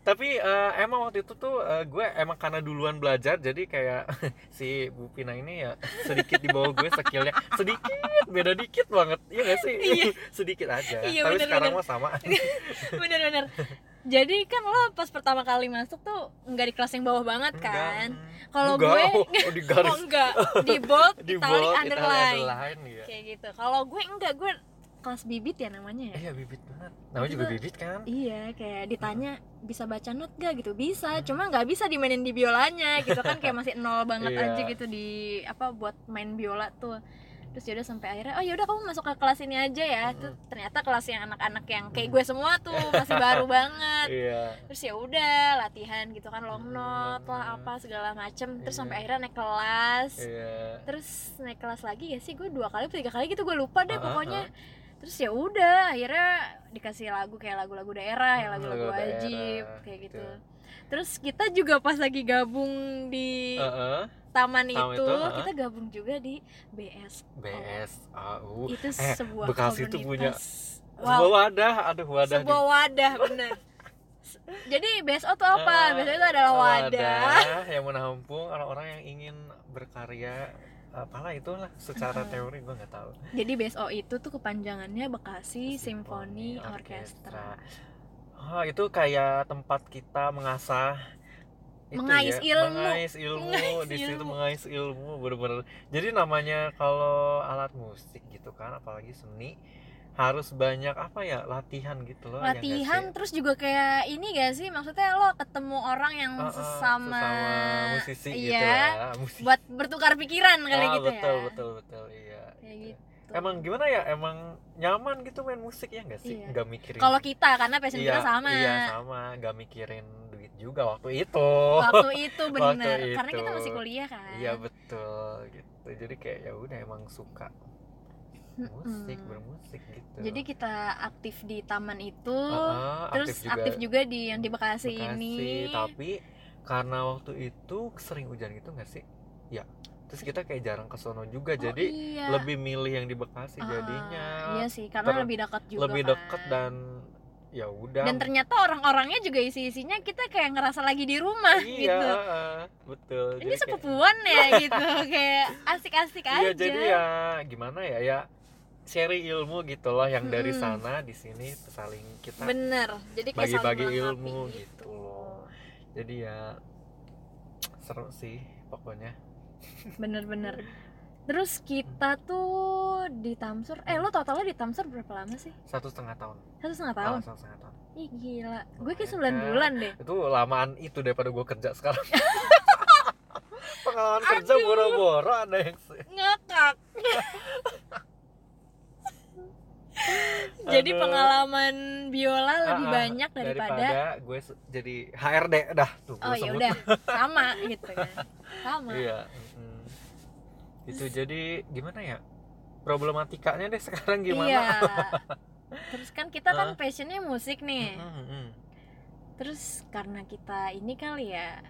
Speaker 1: Tapi eh, emang waktu itu tuh eh, gue emang karena duluan belajar jadi kayak si Bu Pina ini ya sedikit di bawah gue skillnya sedikit beda dikit banget iya gak sih
Speaker 2: Iya.
Speaker 1: sedikit aja
Speaker 2: Iya,
Speaker 1: tapi
Speaker 2: bener,
Speaker 1: sekarang
Speaker 2: bener.
Speaker 1: mah sama
Speaker 2: bener-bener jadi kan lo pas pertama kali masuk tuh nggak di kelas yang bawah banget
Speaker 1: Enggak,
Speaker 2: kan
Speaker 1: mm.
Speaker 2: kalau
Speaker 1: Enggak,
Speaker 2: gue
Speaker 1: oh, oh, di garis
Speaker 2: oh enggak di bold
Speaker 1: di
Speaker 2: italic
Speaker 1: bold, italic
Speaker 2: underline
Speaker 1: underline, iya.
Speaker 2: kayak gitu kalau gue enggak gue kelas bibit ya namanya ya
Speaker 1: Iya bibit banget. Namanya juga
Speaker 2: Itu-
Speaker 1: bibit kan?
Speaker 2: Iya, kayak ditanya bisa baca not gak gitu bisa,
Speaker 1: Hmm.
Speaker 2: cuma nggak bisa dimainin di biolanya gitu kan kayak masih nol banget
Speaker 1: Iya.
Speaker 2: aja gitu di apa buat main biola tuh. Terus yaudah sampai akhirnya oh yaudah kamu masuk ke kelas ini aja ya.
Speaker 1: Hmm.
Speaker 2: Tuh ternyata kelas yang anak-anak yang kayak
Speaker 1: Hmm.
Speaker 2: gue semua tuh masih baru banget.
Speaker 1: Iya.
Speaker 2: Terus ya udah latihan gitu kan long
Speaker 1: Hmm,
Speaker 2: note
Speaker 1: long
Speaker 2: lah
Speaker 1: note.
Speaker 2: apa segala macem. Terus
Speaker 1: Iya.
Speaker 2: sampai akhirnya naik kelas.
Speaker 1: Iya.
Speaker 2: Terus naik kelas lagi ya sih gue dua kali atau tiga kali gitu gue lupa deh
Speaker 1: Ah, ah,
Speaker 2: pokoknya
Speaker 1: ah.
Speaker 2: terus ya udah akhirnya dikasih lagu kayak lagu-lagu daerah ya
Speaker 1: Hmm,
Speaker 2: lagu-lagu
Speaker 1: lagu daerah,
Speaker 2: wajib kayak gitu.
Speaker 1: gitu.
Speaker 2: terus kita juga pas lagi gabung di
Speaker 1: Heeh.
Speaker 2: taman itu,
Speaker 1: Ah, taman itu, ah.
Speaker 2: kita gabung juga di BS
Speaker 1: BSAU.
Speaker 2: itu
Speaker 1: Eh,
Speaker 2: sebuah
Speaker 1: Bekasi
Speaker 2: komunitas
Speaker 1: tuh punya Sebuah
Speaker 2: Iya. wow
Speaker 1: wadah, aduh wadah. gitu. di-
Speaker 2: sebuah wadah bener Se- jadi BSO tuh apa
Speaker 1: Eh,
Speaker 2: BSO itu adalah wadah
Speaker 1: yang menampung orang-orang yang ingin berkarya apalah itulah secara
Speaker 2: Heeh.
Speaker 1: teori gue nggak tahu
Speaker 2: jadi BSO itu tuh kepanjangannya Bekasi Simfoni Orkestra
Speaker 1: Ah, itu kayak tempat kita mengasah itu ya,
Speaker 2: Mengais ilmu.
Speaker 1: mengais ilmu
Speaker 2: Mengais
Speaker 1: di situ
Speaker 2: ilmu.
Speaker 1: mengais ilmu bener-bener jadi namanya kalau alat musik gitu kan apalagi seni harus banyak apa ya latihan gitu loh ya nggak sih?
Speaker 2: latihan terus juga kayak ini gak sih maksudnya lo ketemu orang yang
Speaker 1: Ah, ah,
Speaker 2: sesama,
Speaker 1: musisi gitu
Speaker 2: iya
Speaker 1: lah musisi.
Speaker 2: buat bertukar pikiran kali
Speaker 1: Ah,
Speaker 2: gitu
Speaker 1: betul
Speaker 2: ya
Speaker 1: betul betul iya
Speaker 2: Kayak
Speaker 1: iya.
Speaker 2: gitu.
Speaker 1: emang gimana ya emang nyaman gitu main musik ya nggak sih
Speaker 2: Iya.
Speaker 1: nggak mikirin
Speaker 2: kalau kita karena passion
Speaker 1: iya,
Speaker 2: kita sama
Speaker 1: iya sama nggak mikirin duit juga waktu itu
Speaker 2: waktu kan. itu
Speaker 1: Waktu
Speaker 2: bener karena kita
Speaker 1: itu.
Speaker 2: masih kuliah kan
Speaker 1: Iya betul gitu. Jadi kayak ya udah emang suka musik,
Speaker 2: Mm-mm.
Speaker 1: bermusik gitu.
Speaker 2: jadi kita aktif di taman itu
Speaker 1: Ah, ah,
Speaker 2: terus aktif juga di yang di Bekasi,
Speaker 1: Bekasi.
Speaker 2: ini
Speaker 1: Tapi karena waktu itu sering hujan gitu nggak sih? Ya. Terus kita kayak jarang ke sono
Speaker 2: Iya.
Speaker 1: juga.
Speaker 2: Oh,
Speaker 1: jadi
Speaker 2: iya.
Speaker 1: lebih milih yang di
Speaker 2: Ah,
Speaker 1: Bekasi jadinya.
Speaker 2: iya sih karena
Speaker 1: ter-
Speaker 2: lebih dekat juga
Speaker 1: lebih
Speaker 2: kan.
Speaker 1: deket dan ya udah.
Speaker 2: dan ternyata orang-orangnya juga isi-isinya kita kayak ngerasa lagi di rumah
Speaker 1: iya,
Speaker 2: gitu
Speaker 1: ah, ah, betul.
Speaker 2: ini
Speaker 1: kayak-
Speaker 2: sepupuan ya gitu kayak asik-asik
Speaker 1: Iya
Speaker 2: aja
Speaker 1: jadi ya gimana ya ya sharing ilmu gitu loh yang dari
Speaker 2: Mm-mm.
Speaker 1: sana di sini saling kita
Speaker 2: Hmm. bener jadi kayak saling
Speaker 1: bagi-bagi
Speaker 2: melengkapi
Speaker 1: ilmu gitu loh. Jadi ya seru sih pokoknya.
Speaker 2: bener-bener terus kita tuh di Tamsur eh lo totalnya di Tamsur berapa lama sih
Speaker 1: Satu setengah tahun.
Speaker 2: satu setengah
Speaker 1: Ah,
Speaker 2: tahun
Speaker 1: satu setengah tahun.
Speaker 2: ih gila gue kayak
Speaker 1: Lumayan
Speaker 2: sembilan
Speaker 1: kan.
Speaker 2: bulan deh
Speaker 1: Itu lamaan itu daripada gue kerja sekarang. Pengalaman kerja
Speaker 2: Aduh.
Speaker 1: boro-boro ada yang se-
Speaker 2: ngakak jadi
Speaker 1: Aduh.
Speaker 2: pengalaman biola lebih
Speaker 1: Ah, ah,
Speaker 2: banyak daripada,
Speaker 1: gue se- jadi HRD dah tuh gue
Speaker 2: oh ya
Speaker 1: sebut.
Speaker 2: udah sama gitu kan sama
Speaker 1: Iya. mm-mm. Itu jadi gimana ya? Problematikanya deh sekarang
Speaker 2: iya
Speaker 1: gimana?
Speaker 2: terus kan kita kan passionnya musik nih
Speaker 1: Mm-mm, mm-mm.
Speaker 2: terus karena kita ini kali ya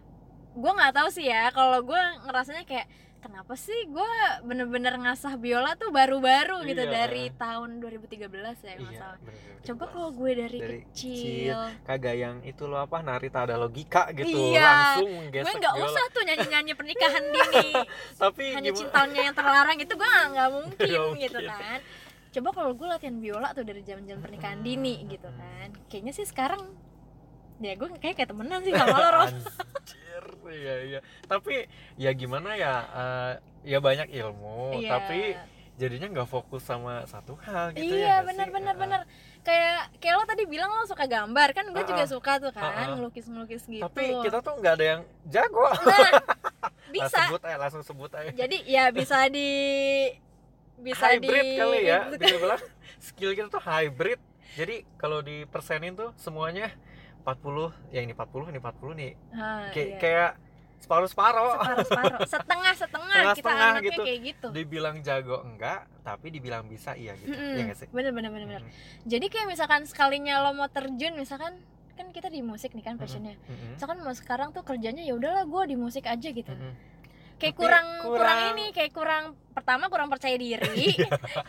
Speaker 2: gue nggak tahu sih ya kalau gue ngerasanya kayak kenapa sih gue bener-bener ngasah biola tuh baru-baru gitu
Speaker 1: Iya.
Speaker 2: dari tahun 2013 ya nggak
Speaker 1: Iya,
Speaker 2: salah
Speaker 1: bener-bener
Speaker 2: coba
Speaker 1: jelas.
Speaker 2: kalau gue dari,
Speaker 1: Dari
Speaker 2: kecil,
Speaker 1: kagak yang itu lo apa narita ada logika gitu
Speaker 2: Iya.
Speaker 1: langsung
Speaker 2: gue
Speaker 1: gesek
Speaker 2: nggak
Speaker 1: biola.
Speaker 2: usah tuh nyanyi-nyanyi pernikahan dini
Speaker 1: tapi
Speaker 2: hanya
Speaker 1: Iya, gimana
Speaker 2: cintanya yang terlarang itu gue nggak- nggak mungkin
Speaker 1: Nggak mungkin.
Speaker 2: gitu kan coba kalau gue latihan biola tuh dari zaman zaman pernikahan dini gitu kan kayaknya sih sekarang ya gue kayak kayak temenan sih sama lo Ros
Speaker 1: Anjir, iya iya tapi ya gimana ya eh, ya banyak ilmu
Speaker 2: Iya.
Speaker 1: tapi jadinya nggak fokus sama satu hal gitu
Speaker 2: iya
Speaker 1: ya nggak
Speaker 2: benar
Speaker 1: sih?
Speaker 2: benar
Speaker 1: Ah,
Speaker 2: benar kayak kayak lo tadi bilang lo suka gambar kan gue
Speaker 1: Ah,
Speaker 2: juga
Speaker 1: ah.
Speaker 2: suka tuh kan
Speaker 1: Ah, ah.
Speaker 2: ngelukis ngelukis gitu
Speaker 1: tapi kita tuh nggak ada yang jago
Speaker 2: nah
Speaker 1: Nah,
Speaker 2: bisa
Speaker 1: sebut aja langsung sebut aja
Speaker 2: jadi ya bisa di bisa
Speaker 1: hybrid
Speaker 2: di
Speaker 1: kali ya bisa bilang skill kita tuh hybrid jadi kalau di persenin tuh semuanya 40 yang ini 40 ini 40 nih
Speaker 2: Ah,
Speaker 1: Kay-
Speaker 2: iya.
Speaker 1: kayak separuh separuh
Speaker 2: separuh separuh setengah setengah kita
Speaker 1: Setengah-setengah
Speaker 2: anaknya
Speaker 1: gitu.
Speaker 2: kayak gitu
Speaker 1: dibilang jago enggak tapi dibilang bisa iya gitu
Speaker 2: Mm-mm.
Speaker 1: ya nggak sih
Speaker 2: bener bener bener bener
Speaker 1: Mm.
Speaker 2: jadi kayak misalkan sekalinya lo mau terjun misalkan kan kita di musik nih kan passionnya
Speaker 1: Mm-mm.
Speaker 2: misalkan mau sekarang tuh kerjanya ya udahlah gue di musik aja gitu
Speaker 1: Mm-mm.
Speaker 2: kayak
Speaker 1: Tapi
Speaker 2: kurang, kurang
Speaker 1: kurang-
Speaker 2: ini kayak kurang pertama kurang percaya diri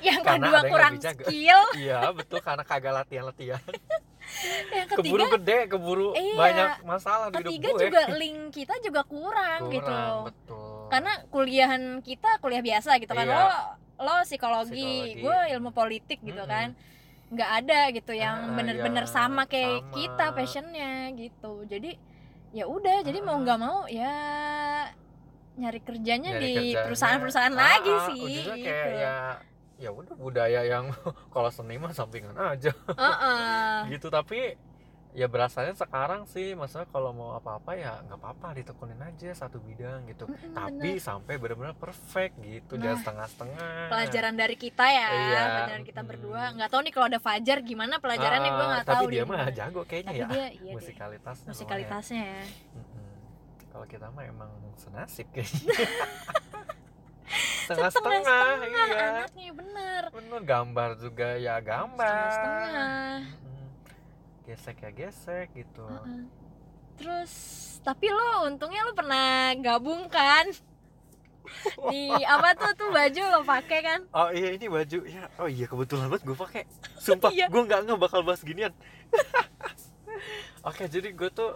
Speaker 2: yang
Speaker 1: Karena
Speaker 2: kedua
Speaker 1: ada yang
Speaker 2: kurang
Speaker 1: lebih jago.
Speaker 2: skill
Speaker 1: iya betul karena kagak latihan latihan
Speaker 2: yang
Speaker 1: keburu
Speaker 2: ketiga
Speaker 1: gede keburu
Speaker 2: Iya.
Speaker 1: banyak masalah di hidup
Speaker 2: ketiga
Speaker 1: gue
Speaker 2: juga link kita juga kurang,
Speaker 1: Kurang,
Speaker 2: gitu loh
Speaker 1: betul
Speaker 2: karena kuliahan kita kuliah biasa gitu kan
Speaker 1: Iya.
Speaker 2: lo lo psikologi,
Speaker 1: Psikologi.
Speaker 2: gue ilmu politik gitu
Speaker 1: Mm-mm.
Speaker 2: kan nggak ada gitu yang
Speaker 1: Ah,
Speaker 2: bener-bener
Speaker 1: iya,
Speaker 2: sama kayak
Speaker 1: sama.
Speaker 2: kita passionnya gitu jadi ya udah jadi mau
Speaker 1: Ah.
Speaker 2: nggak mau ya nyari kerjanya
Speaker 1: Nyari
Speaker 2: di
Speaker 1: kerjanya,
Speaker 2: perusahaan-perusahaan
Speaker 1: ah,
Speaker 2: lagi
Speaker 1: ah,
Speaker 2: sih
Speaker 1: ujungnya
Speaker 2: gitu.
Speaker 1: kayak ya ya udah budaya yang kalau seni mah sampingan aja
Speaker 2: Heeh.
Speaker 1: gitu tapi ya berasanya sekarang sih maksudnya kalau mau apa-apa ya nggak apa-apa ditekunin aja satu bidang gitu
Speaker 2: Mm-mm,
Speaker 1: tapi sampai benar-benar perfect
Speaker 2: Hmm,
Speaker 1: gitu
Speaker 2: Nah,
Speaker 1: jangan setengah-setengah
Speaker 2: pelajaran dari kita ya
Speaker 1: Iya,
Speaker 2: pelajaran kita
Speaker 1: mm.
Speaker 2: berdua nggak tahu nih kalau ada Fajar gimana pelajarannya gue nggak
Speaker 1: tahu
Speaker 2: tahu
Speaker 1: Ah, tapi dia mah
Speaker 2: gimana.
Speaker 1: jago kayaknya
Speaker 2: tapi
Speaker 1: ya
Speaker 2: dia iya deh,
Speaker 1: musikalitasnya lumayan.
Speaker 2: musikalitasnya ya
Speaker 1: Mm-mm. kalau kita mah emang senasib kayaknya setengah-setengah iya
Speaker 2: anaknya bener
Speaker 1: bener gambar juga ya gambar
Speaker 2: setengah-setengah
Speaker 1: Mm-mm. gesek ya gesek gitu
Speaker 2: Heeh. terus tapi lo untungnya lo pernah gabung kan di apa tuh tuh baju lo pakai kan
Speaker 1: Oh iya ini baju ya. Oh iya kebetulan banget gue pakai. Sumpah
Speaker 2: Iya.
Speaker 1: gue nggak nggak bakal bahas ginian. Oke jadi gue tuh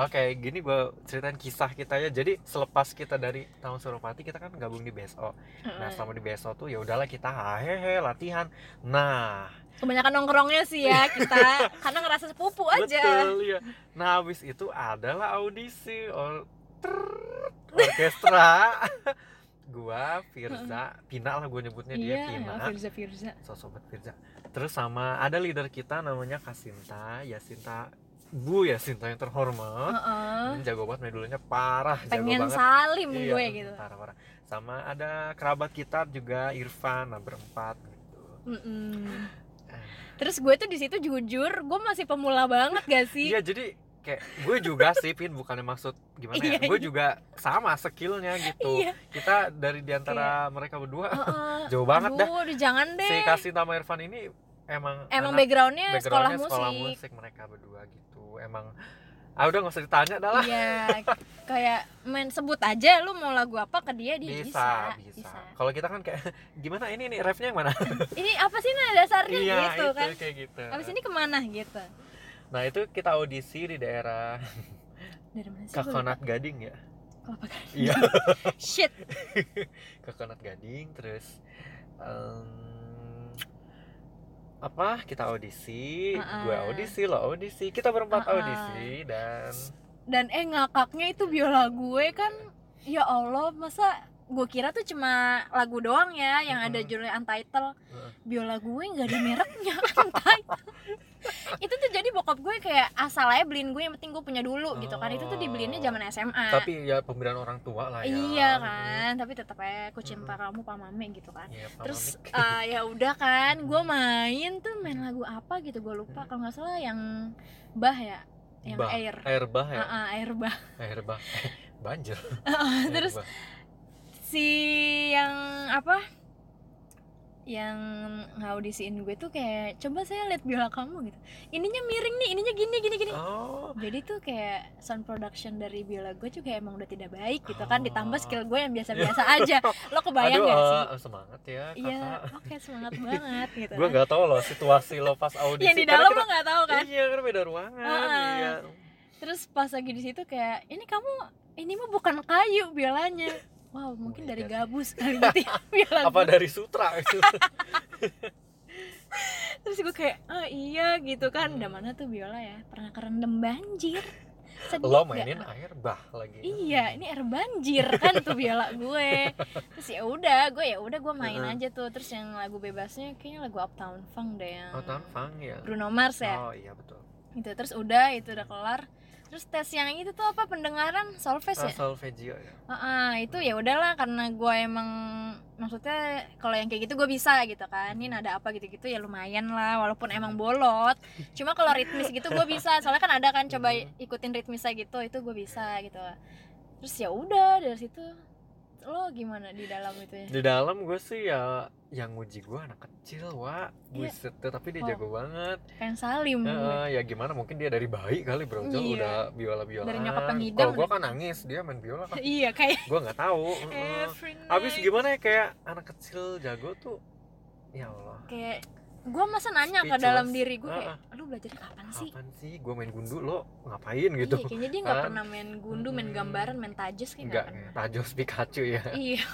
Speaker 1: Oke, gini gue ceritain kisah kita ya. Jadi selepas kita dari tahun Suropati kita kan gabung di BSO. Nah, selama di BSO tuh ya udahlah kita hehe latihan. Nah,
Speaker 2: Kebanyakan nongkrongnya sih ya kita karena ngerasa sepupu aja.
Speaker 1: Betul ya. Nah habis itu adalah audisi or trrrt, orkestra. gua Firza, Pina lah gue nyebutnya dia Pina.
Speaker 2: ya, Firza Firza.
Speaker 1: So- sobat Firza. Terus sama ada leader kita namanya Kasinta, Yasinta Bu Yasinta yang terhormat.
Speaker 2: Heeh.
Speaker 1: Hmm, jago banget medulnya parah,
Speaker 2: Pengen
Speaker 1: jago banget.
Speaker 2: salim
Speaker 1: Iya,
Speaker 2: gue
Speaker 1: hmm,
Speaker 2: gitu.
Speaker 1: Parah, parah. Sama ada kerabat kita juga Irfan, nah berempat gitu.
Speaker 2: Mm-mm. Terus gue tuh di situ jujur, gue masih pemula banget gak sih?
Speaker 1: Iya jadi kayak gue juga sih Pin bukannya maksud gimana ya
Speaker 2: Iya,
Speaker 1: gue
Speaker 2: iya.
Speaker 1: juga sama skillnya gitu
Speaker 2: Iya.
Speaker 1: kita dari diantara mereka berdua
Speaker 2: Heeh.
Speaker 1: jauh banget dah
Speaker 2: Aduh, udah jangan deh.
Speaker 1: si kasih nama Irfan ini emang
Speaker 2: Emang
Speaker 1: anak-
Speaker 2: backgroundnya sekolah
Speaker 1: backgroundnya
Speaker 2: musik.
Speaker 1: sekolah musik mereka berdua gitu emang ah udah nggak usah ditanya dah lah
Speaker 2: Iya, kayak main sebut aja lu mau lagu apa ke dia dia
Speaker 1: bisa
Speaker 2: Iya, bisa.
Speaker 1: bisa, kalau kita kan kayak gimana ini nih refnya yang mana
Speaker 2: Ini apa sih nah dasarnya
Speaker 1: iya
Speaker 2: gitu
Speaker 1: itu
Speaker 2: kan?
Speaker 1: kayak gitu
Speaker 2: Abis ini kemana gitu?
Speaker 1: nah itu kita audisi di daerah
Speaker 2: Dari mana sih? gua lupa?
Speaker 1: Kakonat Gading ya
Speaker 2: Kelapa Gading.
Speaker 1: iya
Speaker 2: Shit.
Speaker 1: ke Konat Gading terus em, apa kita audisi
Speaker 2: Ah-ah.
Speaker 1: gue audisi lo audisi kita berempat
Speaker 2: Ah-ah.
Speaker 1: audisi dan
Speaker 2: Dan eh ngakaknya itu biola gue kan, ya Allah masa gue kira tuh cuma lagu doang ya yang ada
Speaker 1: Mm-mm.
Speaker 2: judulnya untitled
Speaker 1: Heeh.
Speaker 2: biola gue nggak ada mereknya untitled itu tuh jadi bokap gue kayak asal aja beliin gue yang penting gue punya dulu gitu kan itu tuh dibeliinnya zaman SMA
Speaker 1: tapi ya pemberian orang tua lah ya
Speaker 2: Iya kan, tapi tetap aja kucing
Speaker 1: Mm-mm.
Speaker 2: pakamu pamame gitu kan.
Speaker 1: Iya, Hmm. Pak Hmm.
Speaker 2: Terus
Speaker 1: Mamik.
Speaker 2: eh, ya udah kan, gue main tuh main lagu apa gitu gue lupa
Speaker 1: Mm.
Speaker 2: kalau nggak salah yang bah ya, yang
Speaker 1: Bah.
Speaker 2: air,
Speaker 1: air bah ya
Speaker 2: Ah, ah, air bah.
Speaker 1: air bah banjir Air
Speaker 2: Terus
Speaker 1: bah.
Speaker 2: si yang apa? Yang ngaudisiin gue tuh kayak coba saya lihat biola kamu gitu. Ininya miring nih, ininya gini gini gini.
Speaker 1: oh
Speaker 2: Jadi tuh kayak sound production dari biola gue juga emang udah tidak baik gitu kan ditambah
Speaker 1: Oh.
Speaker 2: skill gue yang biasa-biasa aja. Lo kebayang
Speaker 1: aduh
Speaker 2: gak sih?
Speaker 1: eh, semangat ya
Speaker 2: Iya,
Speaker 1: kakak
Speaker 2: oke semangat banget gitu.
Speaker 1: gue nggak tahu loh situasi lo pas audisi
Speaker 2: Yang di
Speaker 1: Karena
Speaker 2: dalam
Speaker 1: kita-
Speaker 2: lo nggak tahu kan.
Speaker 1: iya karena beda ruangan
Speaker 2: Ah-ah.
Speaker 1: iya
Speaker 2: Terus pas lagi di situ kayak ini kamu ini mah bukan kayu biolanya. Wow, mungkin
Speaker 1: Oh my
Speaker 2: dari
Speaker 1: God.
Speaker 2: gabus kali gitu ya, biola
Speaker 1: apa
Speaker 2: gua.
Speaker 1: dari sutra itu
Speaker 2: Terus gue kayak, oh iya gitu kan.
Speaker 1: Hmm.
Speaker 2: Udah mana tuh biola ya? Pernah kerendam banjir. Sedih nggak?
Speaker 1: lo mainin ya? air bah lagi
Speaker 2: Iya, ini air banjir kan tuh biola gue. Terus ya udah, gue ya udah gue main
Speaker 1: Heeh.
Speaker 2: aja tuh. Terus yang lagu bebasnya kayaknya lagu Uptown Funk deh yang
Speaker 1: Oh, Tanfang ya.
Speaker 2: Bruno Mars ya.
Speaker 1: Oh iya betul.
Speaker 2: gitu terus udah itu udah kelar terus tes yang itu tuh apa pendengaran solfege ya
Speaker 1: Asal Vegio ya.
Speaker 2: Ah, ah, itu ya udahlah karena gue emang maksudnya kalau yang kayak gitu gue bisa gitu kan ini nada apa gitu-gitu ya lumayan lah walaupun emang bolot cuma kalau ritmis gitu gue bisa soalnya kan ada kan coba
Speaker 1: Mhm.
Speaker 2: ikutin ritmisnya gitu itu gue bisa gitu terus ya udah dari situ lo gimana di dalam itu ya
Speaker 1: Di dalam gue sih ya yang nguji gue anak kecil, Wak.
Speaker 2: Iya.
Speaker 1: Buset, deh, tapi dia
Speaker 2: Oh.
Speaker 1: jago banget.
Speaker 2: pengen salim
Speaker 1: Heeh, ya gimana mungkin dia dari bayi kali, Bro. Jol,
Speaker 2: Iya.
Speaker 1: udah biola-biola.
Speaker 2: Dari nyokap yang ngidam
Speaker 1: Kalau gue
Speaker 2: udah.
Speaker 1: kan nangis, dia main biola kan.
Speaker 2: iya kayak
Speaker 1: gue nggak tahu. Heeh.
Speaker 2: every night
Speaker 1: Abis gimana ya kayak anak kecil jago tuh. Ya Allah.
Speaker 2: kayak gue masa nanya ke
Speaker 1: Speechless.
Speaker 2: dalam diri gue
Speaker 1: Ah,
Speaker 2: kayak lu belajar kapan sih
Speaker 1: Apaan sih? Gue main gundu lo ngapain gitu?
Speaker 2: Iya, kayaknya dia nggak
Speaker 1: Kan?
Speaker 2: pernah main gundu, main
Speaker 1: Mm-mm.
Speaker 2: gambaran, main tajus kayak nggak
Speaker 1: Enggak,
Speaker 2: pernah.
Speaker 1: tajos Pikachu ya.
Speaker 2: Iya,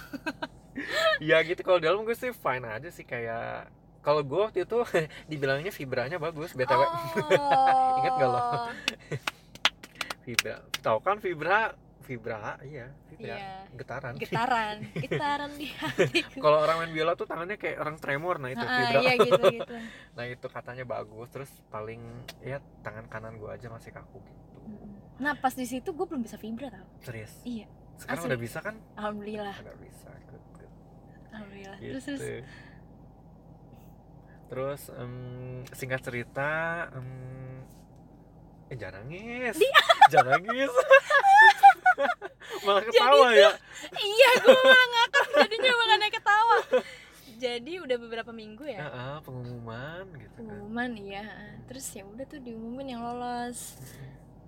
Speaker 1: ya gitu kalau dalam gue sih fine aja sih kayak kalau gue waktu itu dibilangnya vibranya bagus btw
Speaker 2: Oh.
Speaker 1: Ingat nggak lo? vibra tahu kan vibra vibra iya vibra
Speaker 2: Iya.
Speaker 1: getaran
Speaker 2: Getaran, getaran di hatiku.
Speaker 1: kalau orang main biola tuh tangannya kayak orang tremor nah itu
Speaker 2: Ah,
Speaker 1: vibra
Speaker 2: iya gitu gitu.
Speaker 1: nah itu katanya bagus terus paling ya tangan kanan gue aja masih kaku gitu
Speaker 2: Nah pas di situ gue belum bisa vibra tau.
Speaker 1: serius
Speaker 2: Iya.
Speaker 1: sekarang
Speaker 2: Asli. Iya
Speaker 1: udah bisa kan
Speaker 2: Alhamdulillah,
Speaker 1: udah bisa good, good.
Speaker 2: alhamdulillah.
Speaker 1: gitu
Speaker 2: Terus terus.
Speaker 1: terus em, singkat cerita em, eh jangan nangis jangan nangis malah ketawa ya
Speaker 2: iya, gue malah ngakak jadinya makanya ketawa. Jadi udah beberapa minggu ya.
Speaker 1: Ah, ah, pengumuman gitu kan
Speaker 2: Pengumuman iya. Terus ya udah tuh diumumin yang lolos.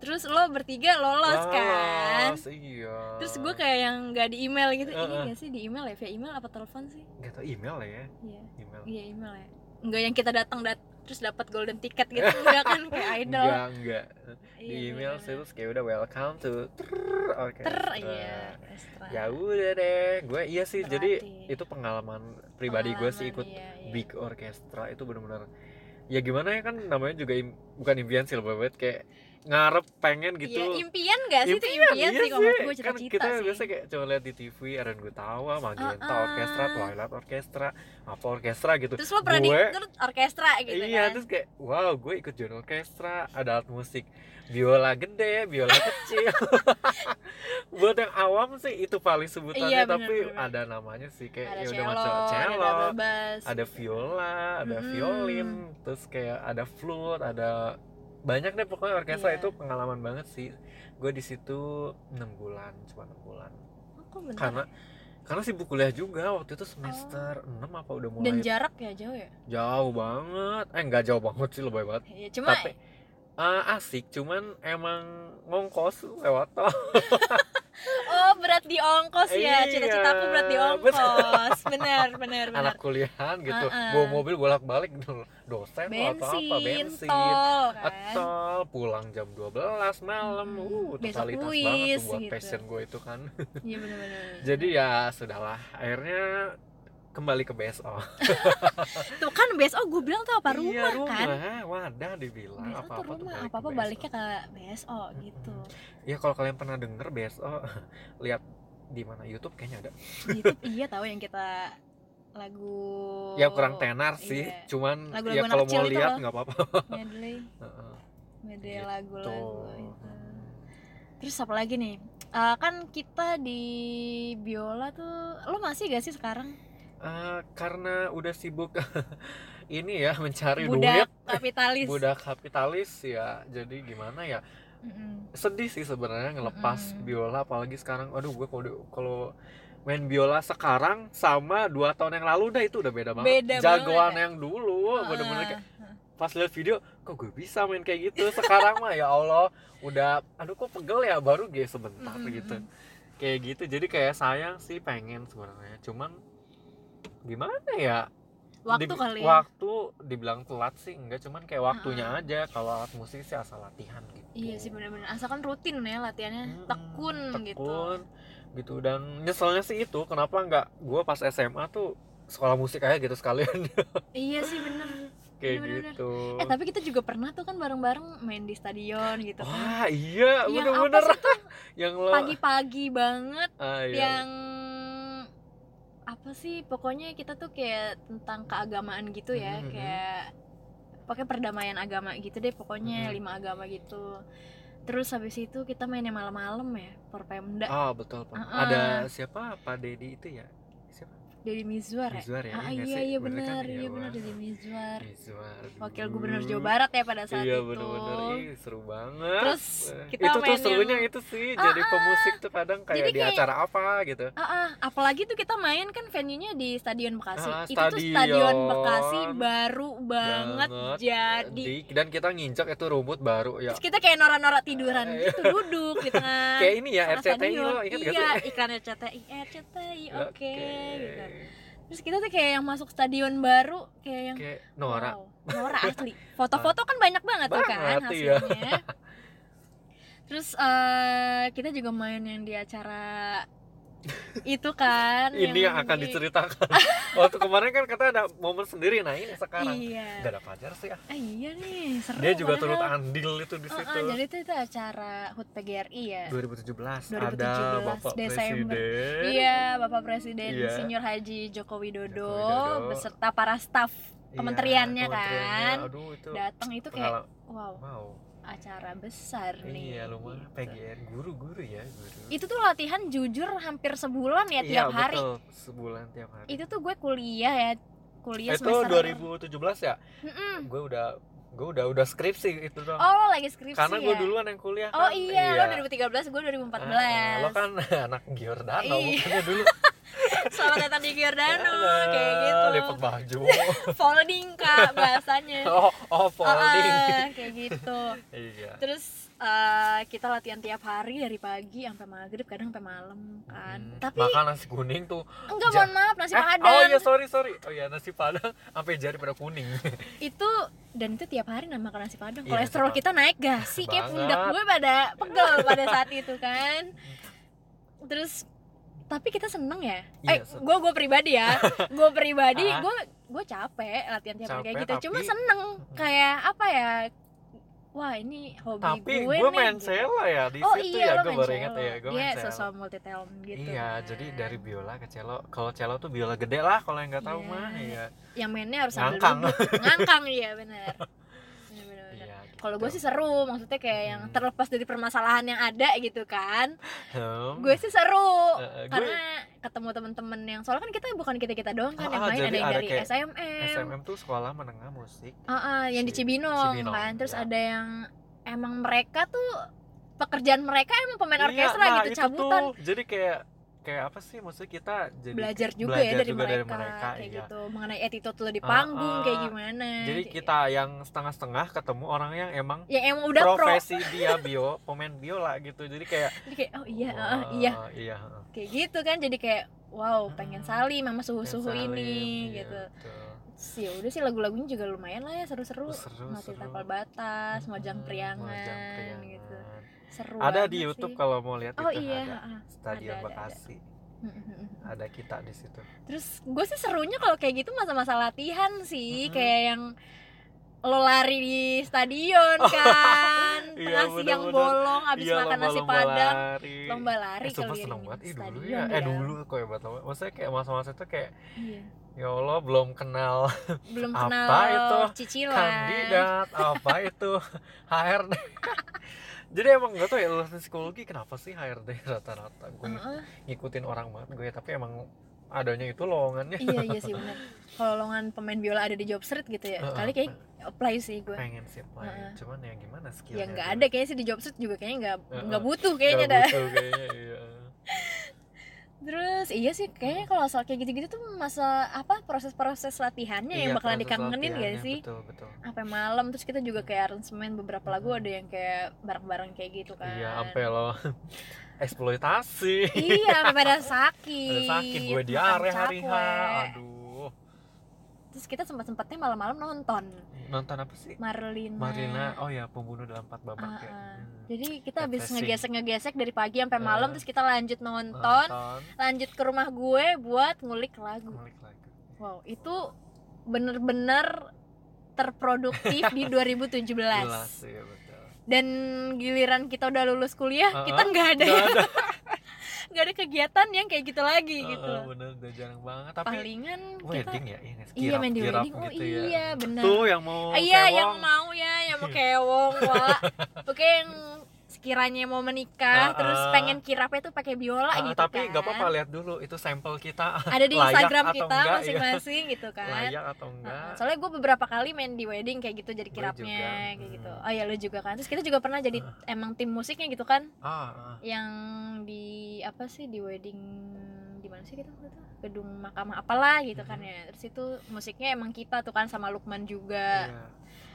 Speaker 2: Terus lo bertiga lolos kan?
Speaker 1: Lolos, iya
Speaker 2: Terus gue kayak yang nggak di email gitu, ini
Speaker 1: Heeh.
Speaker 2: nggak sih di email ya? Via email apa telepon sih?
Speaker 1: nggak tau email lah ya
Speaker 2: Iya,
Speaker 1: email
Speaker 2: iya email ya. Enggak yang kita datang dat terus dapat golden ticket gitu enggak kan kayak idol
Speaker 1: enggak enggak
Speaker 2: Iya,
Speaker 1: di email
Speaker 2: bener-bener.
Speaker 1: sales kayak udah welcome to trrrr orkestra.
Speaker 2: ter iya ekstra.
Speaker 1: ya udah deh gue iya sih jadi
Speaker 2: Terlatih.
Speaker 1: itu pengalaman pribadi gue sih ikut
Speaker 2: Pengalaman, iya, iya.
Speaker 1: big orkestra itu bener-bener ya gimana ya kan namanya juga im- bukan impian sih lebih banget kayak ngarep pengen gitu
Speaker 2: Iya, impian gak sih itu
Speaker 1: Impian,
Speaker 2: impian
Speaker 1: iya
Speaker 2: sih kalau menurut gue
Speaker 1: kan
Speaker 2: cita-cita
Speaker 1: kita
Speaker 2: sih
Speaker 1: biasa kayak cuma lihat di TV Aaron Gutawa, Magenta
Speaker 2: Ah, ah.
Speaker 1: Orkestra, Twilight Orkestra, apa orkestra gitu.
Speaker 2: terus lo pernah
Speaker 1: Gue-
Speaker 2: diikut orkestra gitu
Speaker 1: iya,
Speaker 2: kan
Speaker 1: terus kayak wow, gue ikut join orkestra, ada alat musik, biola gede, biola kecil. Buat yang awam sih itu paling sebutannya,
Speaker 2: Iya, bener,
Speaker 1: tapi
Speaker 2: bener.
Speaker 1: ada namanya sih kayak
Speaker 2: ada
Speaker 1: ya udah
Speaker 2: cello,
Speaker 1: macam
Speaker 2: ada
Speaker 1: cello,
Speaker 2: double bass
Speaker 1: ada viola, ada
Speaker 2: Mm-mm.
Speaker 1: violin, terus kayak ada flute, ada banyak deh pokoknya orkestra
Speaker 2: Iya.
Speaker 1: itu pengalaman banget sih. Gue di situ 6 bulan, cuma 6 bulan.
Speaker 2: Oh, kok bentar
Speaker 1: Karena
Speaker 2: ya?
Speaker 1: karena sibuk kuliah juga waktu itu semester 6 apa udah mulai
Speaker 2: Oh. dan jarak ya jauh ya
Speaker 1: jauh banget. Eh nggak jauh banget sih lebay banget.
Speaker 2: ya cuma
Speaker 1: Tapi eh, asik cuman emang ngongkos lewat tol.
Speaker 2: oh berat di ongkos ya
Speaker 1: Iya,
Speaker 2: cita-citaku berat di ongkos bener bener bener
Speaker 1: anak kuliahan gitu.
Speaker 2: Ah, ah.
Speaker 1: Bawa mobil bolak-balik dulu. dosen atau apa
Speaker 2: bensin,
Speaker 1: bensin. Iya,
Speaker 2: tol kan
Speaker 1: Atol, pulang jam 12 malam.
Speaker 2: Hmm,
Speaker 1: Uh,
Speaker 2: besok
Speaker 1: totalitas banget
Speaker 2: kuis,
Speaker 1: tuh buat
Speaker 2: gitu.
Speaker 1: passion gue itu kan.
Speaker 2: iya bener bener
Speaker 1: Jadi ya sudahlah, akhirnya kembali ke BSO.
Speaker 2: tuh kan BSO gue bilang tuh apa rumah,
Speaker 1: iya, rumah.
Speaker 2: kan
Speaker 1: Wadah dibilang
Speaker 2: BSO tuh
Speaker 1: apa-apa tuh
Speaker 2: rumah
Speaker 1: balik ke
Speaker 2: apa-apa
Speaker 1: BSO.
Speaker 2: baliknya ke BSO gitu
Speaker 1: Ya kalau kalian pernah denger BSO, lihat di mana YouTube kayaknya ada.
Speaker 2: YouTube iya tahu yang kita lagu
Speaker 1: Ya kurang tenar
Speaker 2: Oh,
Speaker 1: sih,
Speaker 2: iya.
Speaker 1: cuman
Speaker 2: Lagu-lagu
Speaker 1: ya
Speaker 2: anak
Speaker 1: kalau
Speaker 2: kecil
Speaker 1: mau
Speaker 2: itu
Speaker 1: lihat
Speaker 2: loh.
Speaker 1: nggak apa-apa.
Speaker 2: medley
Speaker 1: Heeh.
Speaker 2: medley
Speaker 1: Gitu.
Speaker 2: lagu-lagu
Speaker 1: Tuh.
Speaker 2: itu terus apa lagi nih Eh, kan kita di biola tuh lo masih gak sih sekarang
Speaker 1: Eh, karena udah sibuk ini ya mencari
Speaker 2: budak
Speaker 1: duit,
Speaker 2: kapitalis
Speaker 1: budak kapitalis ya. Jadi gimana ya?
Speaker 2: Mm-mm.
Speaker 1: sedih sih sebenarnya ngelepas
Speaker 2: Mm-mm.
Speaker 1: biola apalagi sekarang aduh gue kalau kalau main biola sekarang sama dua tahun yang lalu dah itu udah beda banget
Speaker 2: Beda
Speaker 1: jagoan
Speaker 2: banget. ya?
Speaker 1: yang dulu bener-bener
Speaker 2: Ah,
Speaker 1: kayak pas lihat video kok gue bisa main kayak gitu sekarang mah ya Allah udah aduh kok pegel ya baru gue sebentar
Speaker 2: Mm-mm.
Speaker 1: gitu kayak gitu jadi kayak sayang sih pengen sebenarnya cuman gimana ya
Speaker 2: waktu
Speaker 1: Dib-
Speaker 2: kali ya
Speaker 1: waktu dibilang telat sih enggak cuman kayak waktunya aja kalau alat musik sih asal latihan gitu
Speaker 2: iya sih benar-benar asalkan rutin ya latihannya
Speaker 1: Mm-mm,
Speaker 2: tekun, gitu
Speaker 1: Hmm, tekun, gitu dan nyeselnya sih itu kenapa nggak gue pas SMA tuh sekolah musik aja gitu sekalian
Speaker 2: iya sih bener
Speaker 1: kayak
Speaker 2: Bener-bener.
Speaker 1: gitu
Speaker 2: eh tapi kita juga pernah tuh kan bareng-bareng main di stadion gitu kan
Speaker 1: wah iya
Speaker 2: Yang
Speaker 1: bener-bener
Speaker 2: apa sih tuh?
Speaker 1: yang lo
Speaker 2: pagi-pagi banget
Speaker 1: ah, iya.
Speaker 2: yang apa sih pokoknya kita tuh kayak tentang keagamaan gitu ya
Speaker 1: Mhm.
Speaker 2: kayak pakai perdamaian agama gitu deh pokoknya
Speaker 1: Mhm.
Speaker 2: lima agama gitu terus habis itu kita mainnya malam-malam ya perpemda
Speaker 1: ah betul Pak.
Speaker 2: Ah, ah.
Speaker 1: ada siapa Pak Dedi itu ya siapa
Speaker 2: dari Mizwar ya
Speaker 1: Mizwar ya
Speaker 2: ah,
Speaker 1: nggak
Speaker 2: iya
Speaker 1: sih?
Speaker 2: iya
Speaker 1: Bener kan?
Speaker 2: benar
Speaker 1: Ya,
Speaker 2: iya
Speaker 1: wah.
Speaker 2: benar dari Mizwar
Speaker 1: Mizwar
Speaker 2: wakil gubernur Jawa
Speaker 1: dulu.
Speaker 2: Barat ya pada saat
Speaker 1: Hmm. iya
Speaker 2: itu
Speaker 1: bener-bener Ih, seru banget
Speaker 2: terus
Speaker 1: Eh,
Speaker 2: kita
Speaker 1: itu tuh
Speaker 2: main
Speaker 1: serunya gitu.
Speaker 2: yang-
Speaker 1: itu sih
Speaker 2: Ah,
Speaker 1: jadi
Speaker 2: ah.
Speaker 1: pemusik tuh kadang kayak
Speaker 2: Jadi
Speaker 1: di
Speaker 2: kayak-
Speaker 1: acara apa gitu
Speaker 2: Ah, ah, apalagi tuh kita main kan venue-nya di Stadion Bekasi.
Speaker 1: Ah,
Speaker 2: itu tuh Stadion
Speaker 1: stadion.
Speaker 2: Bekasi baru banget,
Speaker 1: Banget.
Speaker 2: jadi.
Speaker 1: Di- dan kita nginjak itu rumput baru ya
Speaker 2: Terus kita kayak norak-norak tiduran
Speaker 1: Ah,
Speaker 2: gitu duduk di tengah.
Speaker 1: kayak ini ya
Speaker 2: tengah
Speaker 1: RCTI
Speaker 2: stadion.
Speaker 1: lo ingat
Speaker 2: iya,
Speaker 1: gak sih
Speaker 2: iklan RCTI, RCTI, oke.
Speaker 1: Oke.
Speaker 2: gitu. Terus kita tuh kayak yang masuk stadion baru, kayak yang
Speaker 1: kayak norak
Speaker 2: Wow, norak asli. Foto-foto kan banyak banget tuh kan
Speaker 1: Banget, iya.
Speaker 2: hasilnya. Terus eh, kita juga main yang di acara itu kan.
Speaker 1: ini yang akan
Speaker 2: di-
Speaker 1: diceritakan waktu kemarin kan kata ada momen sendiri nah ini sekarang
Speaker 2: Iya.
Speaker 1: gak ada pacar sih ah.
Speaker 2: Ah, iya nih, seru.
Speaker 1: dia juga turut
Speaker 2: padahal.
Speaker 1: andil itu di
Speaker 2: Heeh,
Speaker 1: situ
Speaker 2: jadi itu, itu acara HUT PGRI ya.
Speaker 1: 2017, ada
Speaker 2: 2017
Speaker 1: bapak
Speaker 2: Desember.
Speaker 1: presiden
Speaker 2: Iya, Bapak Presiden
Speaker 1: Iya.
Speaker 2: Senior Haji Joko Widodo,
Speaker 1: Joko Widodo.
Speaker 2: beserta para staf
Speaker 1: Iya,
Speaker 2: kementeriannya
Speaker 1: kementeriannya.
Speaker 2: kan.
Speaker 1: aduh itu
Speaker 2: datang itu kayak
Speaker 1: pengalaman
Speaker 2: wow,
Speaker 1: wow
Speaker 2: acara besar nih.
Speaker 1: iya lumayan
Speaker 2: gitu.
Speaker 1: PGN guru-guru ya guru
Speaker 2: Itu tuh latihan jujur hampir sebulan ya
Speaker 1: Iya,
Speaker 2: tiap hari.
Speaker 1: betul, sebulan tiap hari
Speaker 2: Itu tuh gue kuliah ya, kuliah
Speaker 1: itu
Speaker 2: semester
Speaker 1: 2017 ya
Speaker 2: Mm-mm.
Speaker 1: gue udah gue udah udah skripsi itu dong
Speaker 2: Hmm. Oh, lo lagi skripsi
Speaker 1: karena gue
Speaker 2: ya?
Speaker 1: duluan yang kuliah
Speaker 2: Oh
Speaker 1: kan.
Speaker 2: iya, lo 2013, gue 2014.
Speaker 1: Ah, ah, lo kan anak Giordano
Speaker 2: Iya.
Speaker 1: makanya dulu
Speaker 2: Selamat datang di Giordano
Speaker 1: Nah,
Speaker 2: kayak gitu.
Speaker 1: Lipat baju.
Speaker 2: Folding Kak bahasanya.
Speaker 1: oh, oh folding.
Speaker 2: Ah, ah, kayak gitu.
Speaker 1: Iya.
Speaker 2: Terus eh, kita latihan tiap hari dari pagi sampai maghrib kadang sampai malam kan.
Speaker 1: Hmm,
Speaker 2: Tapi
Speaker 1: makan nasi kuning tuh.
Speaker 2: enggak
Speaker 1: ja-
Speaker 2: mohon maaf nasi
Speaker 1: Eh,
Speaker 2: padang
Speaker 1: oh iya sorry sorry. Oh iya nasi padang sampai jari pada kuning.
Speaker 2: itu dan itu tiap hari nah makan nasi padang.
Speaker 1: Iya,
Speaker 2: Kolesterol
Speaker 1: nasi
Speaker 2: kita naik gak sih? Kayak
Speaker 1: Banget.
Speaker 2: pundak gue pada pegel pada saat itu kan. Terus tapi kita seneng ya.
Speaker 1: Iya,
Speaker 2: eh,
Speaker 1: seneng.
Speaker 2: gue gue pribadi ya. gue pribadi,
Speaker 1: Ah.
Speaker 2: gue gue capek latihan tiap hari kayak
Speaker 1: Capek,
Speaker 2: gitu. Cuma
Speaker 1: tapi-
Speaker 2: seneng kayak apa ya? Wah ini hobi
Speaker 1: Tapi
Speaker 2: gue,
Speaker 1: gue,
Speaker 2: nih,
Speaker 1: main
Speaker 2: gitu.
Speaker 1: Cela ya di
Speaker 2: oh
Speaker 1: situ
Speaker 2: iya
Speaker 1: ya
Speaker 2: lo
Speaker 1: gue
Speaker 2: main
Speaker 1: baru ingat
Speaker 2: cello.
Speaker 1: ya gue
Speaker 2: Dia
Speaker 1: main cello.
Speaker 2: sosok multi talent gitu
Speaker 1: iya,
Speaker 2: kan.
Speaker 1: jadi dari biola ke cello. Kalau cello tuh biola gede lah kalau yang nggak tahu
Speaker 2: Iya.
Speaker 1: mah ya.
Speaker 2: yang mainnya harus sambil
Speaker 1: Ngangkang.
Speaker 2: duduk ngangkang iya benar Benar, benar, benar.
Speaker 1: Iya. Gitu.
Speaker 2: kalau gue sih seru maksudnya kayak yang
Speaker 1: Hmm.
Speaker 2: terlepas dari permasalahan yang ada gitu kan
Speaker 1: Hmm.
Speaker 2: gue sih seru
Speaker 1: Eh, eh, gue
Speaker 2: karena ketemu temen-temen yang soalnya kan kita bukan kita kita doang kan
Speaker 1: Ah,
Speaker 2: yang
Speaker 1: ah,
Speaker 2: main
Speaker 1: jadi
Speaker 2: ada yang
Speaker 1: ada
Speaker 2: dari
Speaker 1: kayak
Speaker 2: SMM,
Speaker 1: SMM tuh sekolah menengah musik.
Speaker 2: Ah, ah, yang di
Speaker 1: Si-
Speaker 2: Cibinong,
Speaker 1: Cibinong,
Speaker 2: kan terus
Speaker 1: iya.
Speaker 2: ada yang emang mereka tuh pekerjaan mereka emang pemain
Speaker 1: Iya,
Speaker 2: orkestra
Speaker 1: nah,
Speaker 2: gitu
Speaker 1: itu
Speaker 2: cabutan
Speaker 1: tuh. Jadi kayak kayak apa sih maksudnya kita jadi
Speaker 2: belajar juga
Speaker 1: belajar
Speaker 2: ya dari,
Speaker 1: juga
Speaker 2: mereka,
Speaker 1: dari mereka,
Speaker 2: kayak
Speaker 1: iya.
Speaker 2: gitu mengenai attitude lo di
Speaker 1: Ah,
Speaker 2: panggung
Speaker 1: ah.
Speaker 2: kayak gimana
Speaker 1: Jadi
Speaker 2: kayak-
Speaker 1: kita yang setengah-setengah ketemu orang yang emang
Speaker 2: yang emang udah pro
Speaker 1: profesi dia bio, pemain biola gitu. Jadi kayak
Speaker 2: Jadi kayak oh iya
Speaker 1: wah,
Speaker 2: ah, iya
Speaker 1: iya, heeh.
Speaker 2: kayak gitu kan jadi kayak wow pengen
Speaker 1: Hmm,
Speaker 2: salim sama
Speaker 1: Kayak
Speaker 2: suhu-suhu
Speaker 1: saling,
Speaker 2: ini
Speaker 1: iya,
Speaker 2: gitu
Speaker 1: betul.
Speaker 2: sih udah sih lagu-lagunya juga lumayan lah ya seru-seru
Speaker 1: Seru,
Speaker 2: mati
Speaker 1: seru.
Speaker 2: tapal batas mojang
Speaker 1: Mm,
Speaker 2: priangan,
Speaker 1: Mojang Priangan.
Speaker 2: gitu seru
Speaker 1: Ada
Speaker 2: banget
Speaker 1: di YouTube
Speaker 2: sih.
Speaker 1: kalau mau lihat
Speaker 2: oh
Speaker 1: itu
Speaker 2: iya Hmm,
Speaker 1: ada.
Speaker 2: ah.
Speaker 1: Stadion
Speaker 2: Ada, ada, ada.
Speaker 1: Bekasi ada. kita di situ.
Speaker 2: terus gue sih serunya kalau kayak gitu masa-masa latihan sih
Speaker 1: Mm-mm.
Speaker 2: kayak yang lo lari di stadion kan
Speaker 1: Oh, Iya,
Speaker 2: tengah siang
Speaker 1: bener-bener.
Speaker 2: bolong abis
Speaker 1: Iya,
Speaker 2: makan nasi
Speaker 1: lomba-lomba
Speaker 2: padang
Speaker 1: lari.
Speaker 2: lomba lari
Speaker 1: Eh, sumpah
Speaker 2: kali ya
Speaker 1: seneng
Speaker 2: di
Speaker 1: banget. Ih, dulu
Speaker 2: stadion di
Speaker 1: ya. Eh,
Speaker 2: dalam.
Speaker 1: dulu kok hebat banget. Maksudnya kayak masa-masa itu kayak
Speaker 2: Iya.
Speaker 1: ya Allah belum kenal
Speaker 2: belum
Speaker 1: Apa
Speaker 2: kenal
Speaker 1: itu?
Speaker 2: cicilan
Speaker 1: kandidat apa itu HRD. Jadi emang gak tau ya lulusan psikologi kenapa sih HRD rata-rata gue
Speaker 2: Heeh.
Speaker 1: ngikutin orang banget gue tapi emang adanya itu lowongannya
Speaker 2: iya iya sih benar kalau lowongan pemain biola ada di job street gitu ya
Speaker 1: Heeh.
Speaker 2: kali kayak apply sih gue
Speaker 1: pengen sih apply.
Speaker 2: Heeh.
Speaker 1: cuman ya gimana skillnya
Speaker 2: ya nggak ada kayaknya sih di job street juga kayaknya nggak
Speaker 1: Heeh.
Speaker 2: nggak butuh kayaknya dah
Speaker 1: kayaknya iya
Speaker 2: terus iya sih kayaknya kalau soal kayak gitu-gitu tuh masa apa proses-proses latihannya yang
Speaker 1: Iya,
Speaker 2: bakalan
Speaker 1: proses
Speaker 2: dikangenin gak
Speaker 1: latihannya,
Speaker 2: sih
Speaker 1: betul betul
Speaker 2: sampai malam terus kita juga kayak arrangement beberapa lagu ada yang kayak bareng-bareng kayak gitu kan
Speaker 1: iya sampai lo eksploitasi
Speaker 2: iya sampai pada sakit
Speaker 1: ada sakit gue
Speaker 2: makan
Speaker 1: diare hari H
Speaker 2: cakwe.
Speaker 1: aduh
Speaker 2: terus kita sempat-sempatnya malam-malam nonton
Speaker 1: nonton apa sih
Speaker 2: Marlina.
Speaker 1: Marina oh ya pembunuh dalam empat babak ya
Speaker 2: Ah, ah.
Speaker 1: Hmm.
Speaker 2: Jadi kita habis
Speaker 1: Refreshing.
Speaker 2: ngegesek-ngegesek dari pagi sampai malam
Speaker 1: Eh.
Speaker 2: terus kita lanjut nonton,
Speaker 1: nonton
Speaker 2: lanjut ke rumah gue buat ngulik lagu.
Speaker 1: ngulik lagi
Speaker 2: Wow, itu bener-bener terproduktif di 2017.
Speaker 1: jelas ya betul
Speaker 2: Dan giliran kita udah lulus kuliah,
Speaker 1: Ah,
Speaker 2: kita nggak ada
Speaker 1: Nggak ada
Speaker 2: nggak ada kegiatan yang kayak gitu lagi
Speaker 1: Eh,
Speaker 2: gitu.
Speaker 1: eh, bener udah jarang banget tapi
Speaker 2: Palingan kita
Speaker 1: wedding ya ini
Speaker 2: Iya main di
Speaker 1: kirap
Speaker 2: wedding. Oh
Speaker 1: gitu ya
Speaker 2: iya, bener
Speaker 1: tuh yang mau
Speaker 2: iya yang
Speaker 1: kewong.
Speaker 2: mau ya yang mau kewong wala oke yang sekiranya mau menikah
Speaker 1: Ah,
Speaker 2: terus
Speaker 1: ah.
Speaker 2: pengen kirapnya tuh pakai biola
Speaker 1: Ah,
Speaker 2: gitu
Speaker 1: tapi
Speaker 2: kan
Speaker 1: nggak apa-apa lihat dulu itu sampel kita
Speaker 2: ada di
Speaker 1: Layak
Speaker 2: Instagram
Speaker 1: atau
Speaker 2: kita
Speaker 1: enggak, ya.
Speaker 2: masing-masing gitu kan
Speaker 1: layak atau
Speaker 2: Ah,
Speaker 1: enggak
Speaker 2: soalnya gue beberapa kali main di wedding kayak gitu jadi
Speaker 1: Gue
Speaker 2: kirapnya
Speaker 1: juga,
Speaker 2: kayak gitu
Speaker 1: hmm.
Speaker 2: oh ya lu juga kan terus kita juga pernah jadi emang tim musiknya gitu kan
Speaker 1: ah, ah.
Speaker 2: yang di apa sih di wedding di mana sih kita waktu itu? gedung mahkamah apalah gitu kan
Speaker 1: Mhm.
Speaker 2: ya terus itu musiknya emang kita tuh kan sama Lukman juga
Speaker 1: Iya.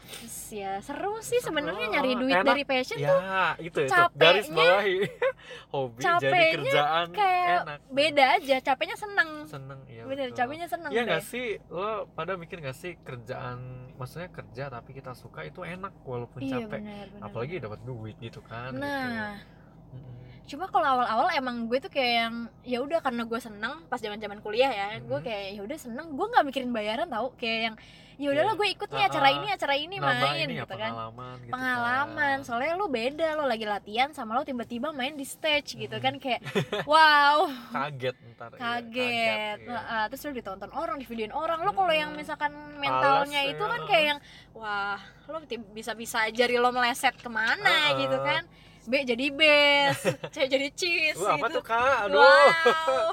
Speaker 2: Terus ya seru sih
Speaker 1: Seru.
Speaker 2: sebenarnya nyari duit
Speaker 1: Enak.
Speaker 2: dari passion
Speaker 1: ya itu itu
Speaker 2: capeknya-
Speaker 1: garis bawahi hobi jadi
Speaker 2: capeknya
Speaker 1: kerjaan
Speaker 2: kayak
Speaker 1: enak
Speaker 2: beda aja capeknya seneng
Speaker 1: seneng ya
Speaker 2: bener
Speaker 1: betul.
Speaker 2: capeknya seneng
Speaker 1: Iya
Speaker 2: deh
Speaker 1: nggak sih lo pada mikir nggak sih kerjaan maksudnya kerja tapi kita suka itu enak walaupun
Speaker 2: iya
Speaker 1: capek
Speaker 2: bener bener
Speaker 1: apalagi dapat duit gitu kan
Speaker 2: nah
Speaker 1: gitu. Mm-mm.
Speaker 2: cuma kalau awal-awal emang gue tuh kayak yang ya udah karena gue seneng pas zaman zaman kuliah ya gue
Speaker 1: Mhm.
Speaker 2: kayak ya udah seneng gue nggak mikirin bayaran tau kayak yang ya udahlah gue ikut nih
Speaker 1: Ah,
Speaker 2: acara
Speaker 1: ah.
Speaker 2: ini acara ini
Speaker 1: Nambah
Speaker 2: main
Speaker 1: ini ya,
Speaker 2: gitu kan
Speaker 1: pengalaman gitu
Speaker 2: pengalaman
Speaker 1: kan.
Speaker 2: soalnya lu beda lo lagi latihan sama lo tiba-tiba main di stage
Speaker 1: Hmm.
Speaker 2: gitu kan kayak wow
Speaker 1: kaget ntar iya,
Speaker 2: kaget
Speaker 1: iya.
Speaker 2: Heeh, terus lu ditonton orang di videoin orang lo kalau yang
Speaker 1: Hmm.
Speaker 2: misalkan mentalnya
Speaker 1: Males,
Speaker 2: itu kan
Speaker 1: ya.
Speaker 2: kayak yang wah lo bisa bisa jari lo meleset kemana
Speaker 1: Heeh.
Speaker 2: gitu kan B jadi bes C jadi cheese
Speaker 1: Wah, apa
Speaker 2: gitu
Speaker 1: tuh kak aduh
Speaker 2: wow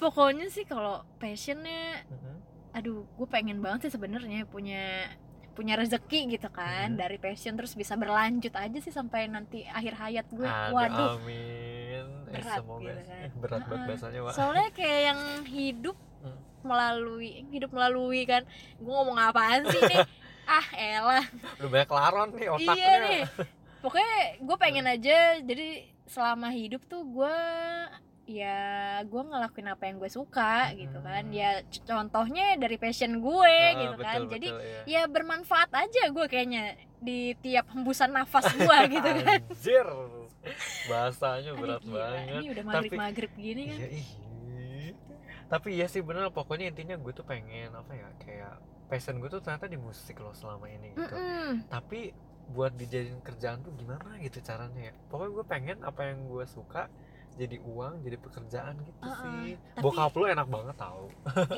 Speaker 2: pokoknya sih kalau passionnya
Speaker 1: Mhm.
Speaker 2: aduh gue pengen banget sih sebenarnya punya punya rezeki gitu kan
Speaker 1: Hmm.
Speaker 2: dari passion terus bisa berlanjut aja sih sampai nanti akhir hayat gue
Speaker 1: Aduh,
Speaker 2: waduh
Speaker 1: amin Eh,
Speaker 2: berat
Speaker 1: semoga
Speaker 2: gitu kan
Speaker 1: berat banget
Speaker 2: Heeh.
Speaker 1: bahasanya Wak.
Speaker 2: soalnya kayak yang hidup
Speaker 1: Hmm.
Speaker 2: melalui hidup melalui kan gue ngomong apaan sih nih ah elah
Speaker 1: Udah banyak laron nih otaknya. Eh,
Speaker 2: iya nih pokoknya gue pengen
Speaker 1: Iya.
Speaker 2: aja jadi selama hidup tuh gue ya gue ngelakuin apa yang gue suka gitu kan
Speaker 1: Hmm.
Speaker 2: ya c- contohnya dari passion gue
Speaker 1: Ah,
Speaker 2: gitu kan
Speaker 1: betul,
Speaker 2: jadi
Speaker 1: betul, iya.
Speaker 2: ya bermanfaat aja gue kayaknya di tiap hembusan nafas gue gitu kan
Speaker 1: Anjir. Bahasanya
Speaker 2: Aduh,
Speaker 1: berat
Speaker 2: gila,
Speaker 1: banget.
Speaker 2: ini udah
Speaker 1: Tapi-
Speaker 2: maghrib maghrib gini kan
Speaker 1: Iya, ih. Tapi iya sih bener pokoknya intinya gue tuh pengen apa ya kayak passion gue tuh ternyata di musik loh selama ini gitu.
Speaker 2: Mm-mm.
Speaker 1: Tapi buat dijadiin kerjaan tuh gimana gitu caranya ya. Pokoknya gue pengen apa yang gue suka jadi uang, jadi pekerjaan gitu
Speaker 2: Uh-uh.
Speaker 1: sih.
Speaker 2: Tapi-
Speaker 1: Bokap lu enak banget tau.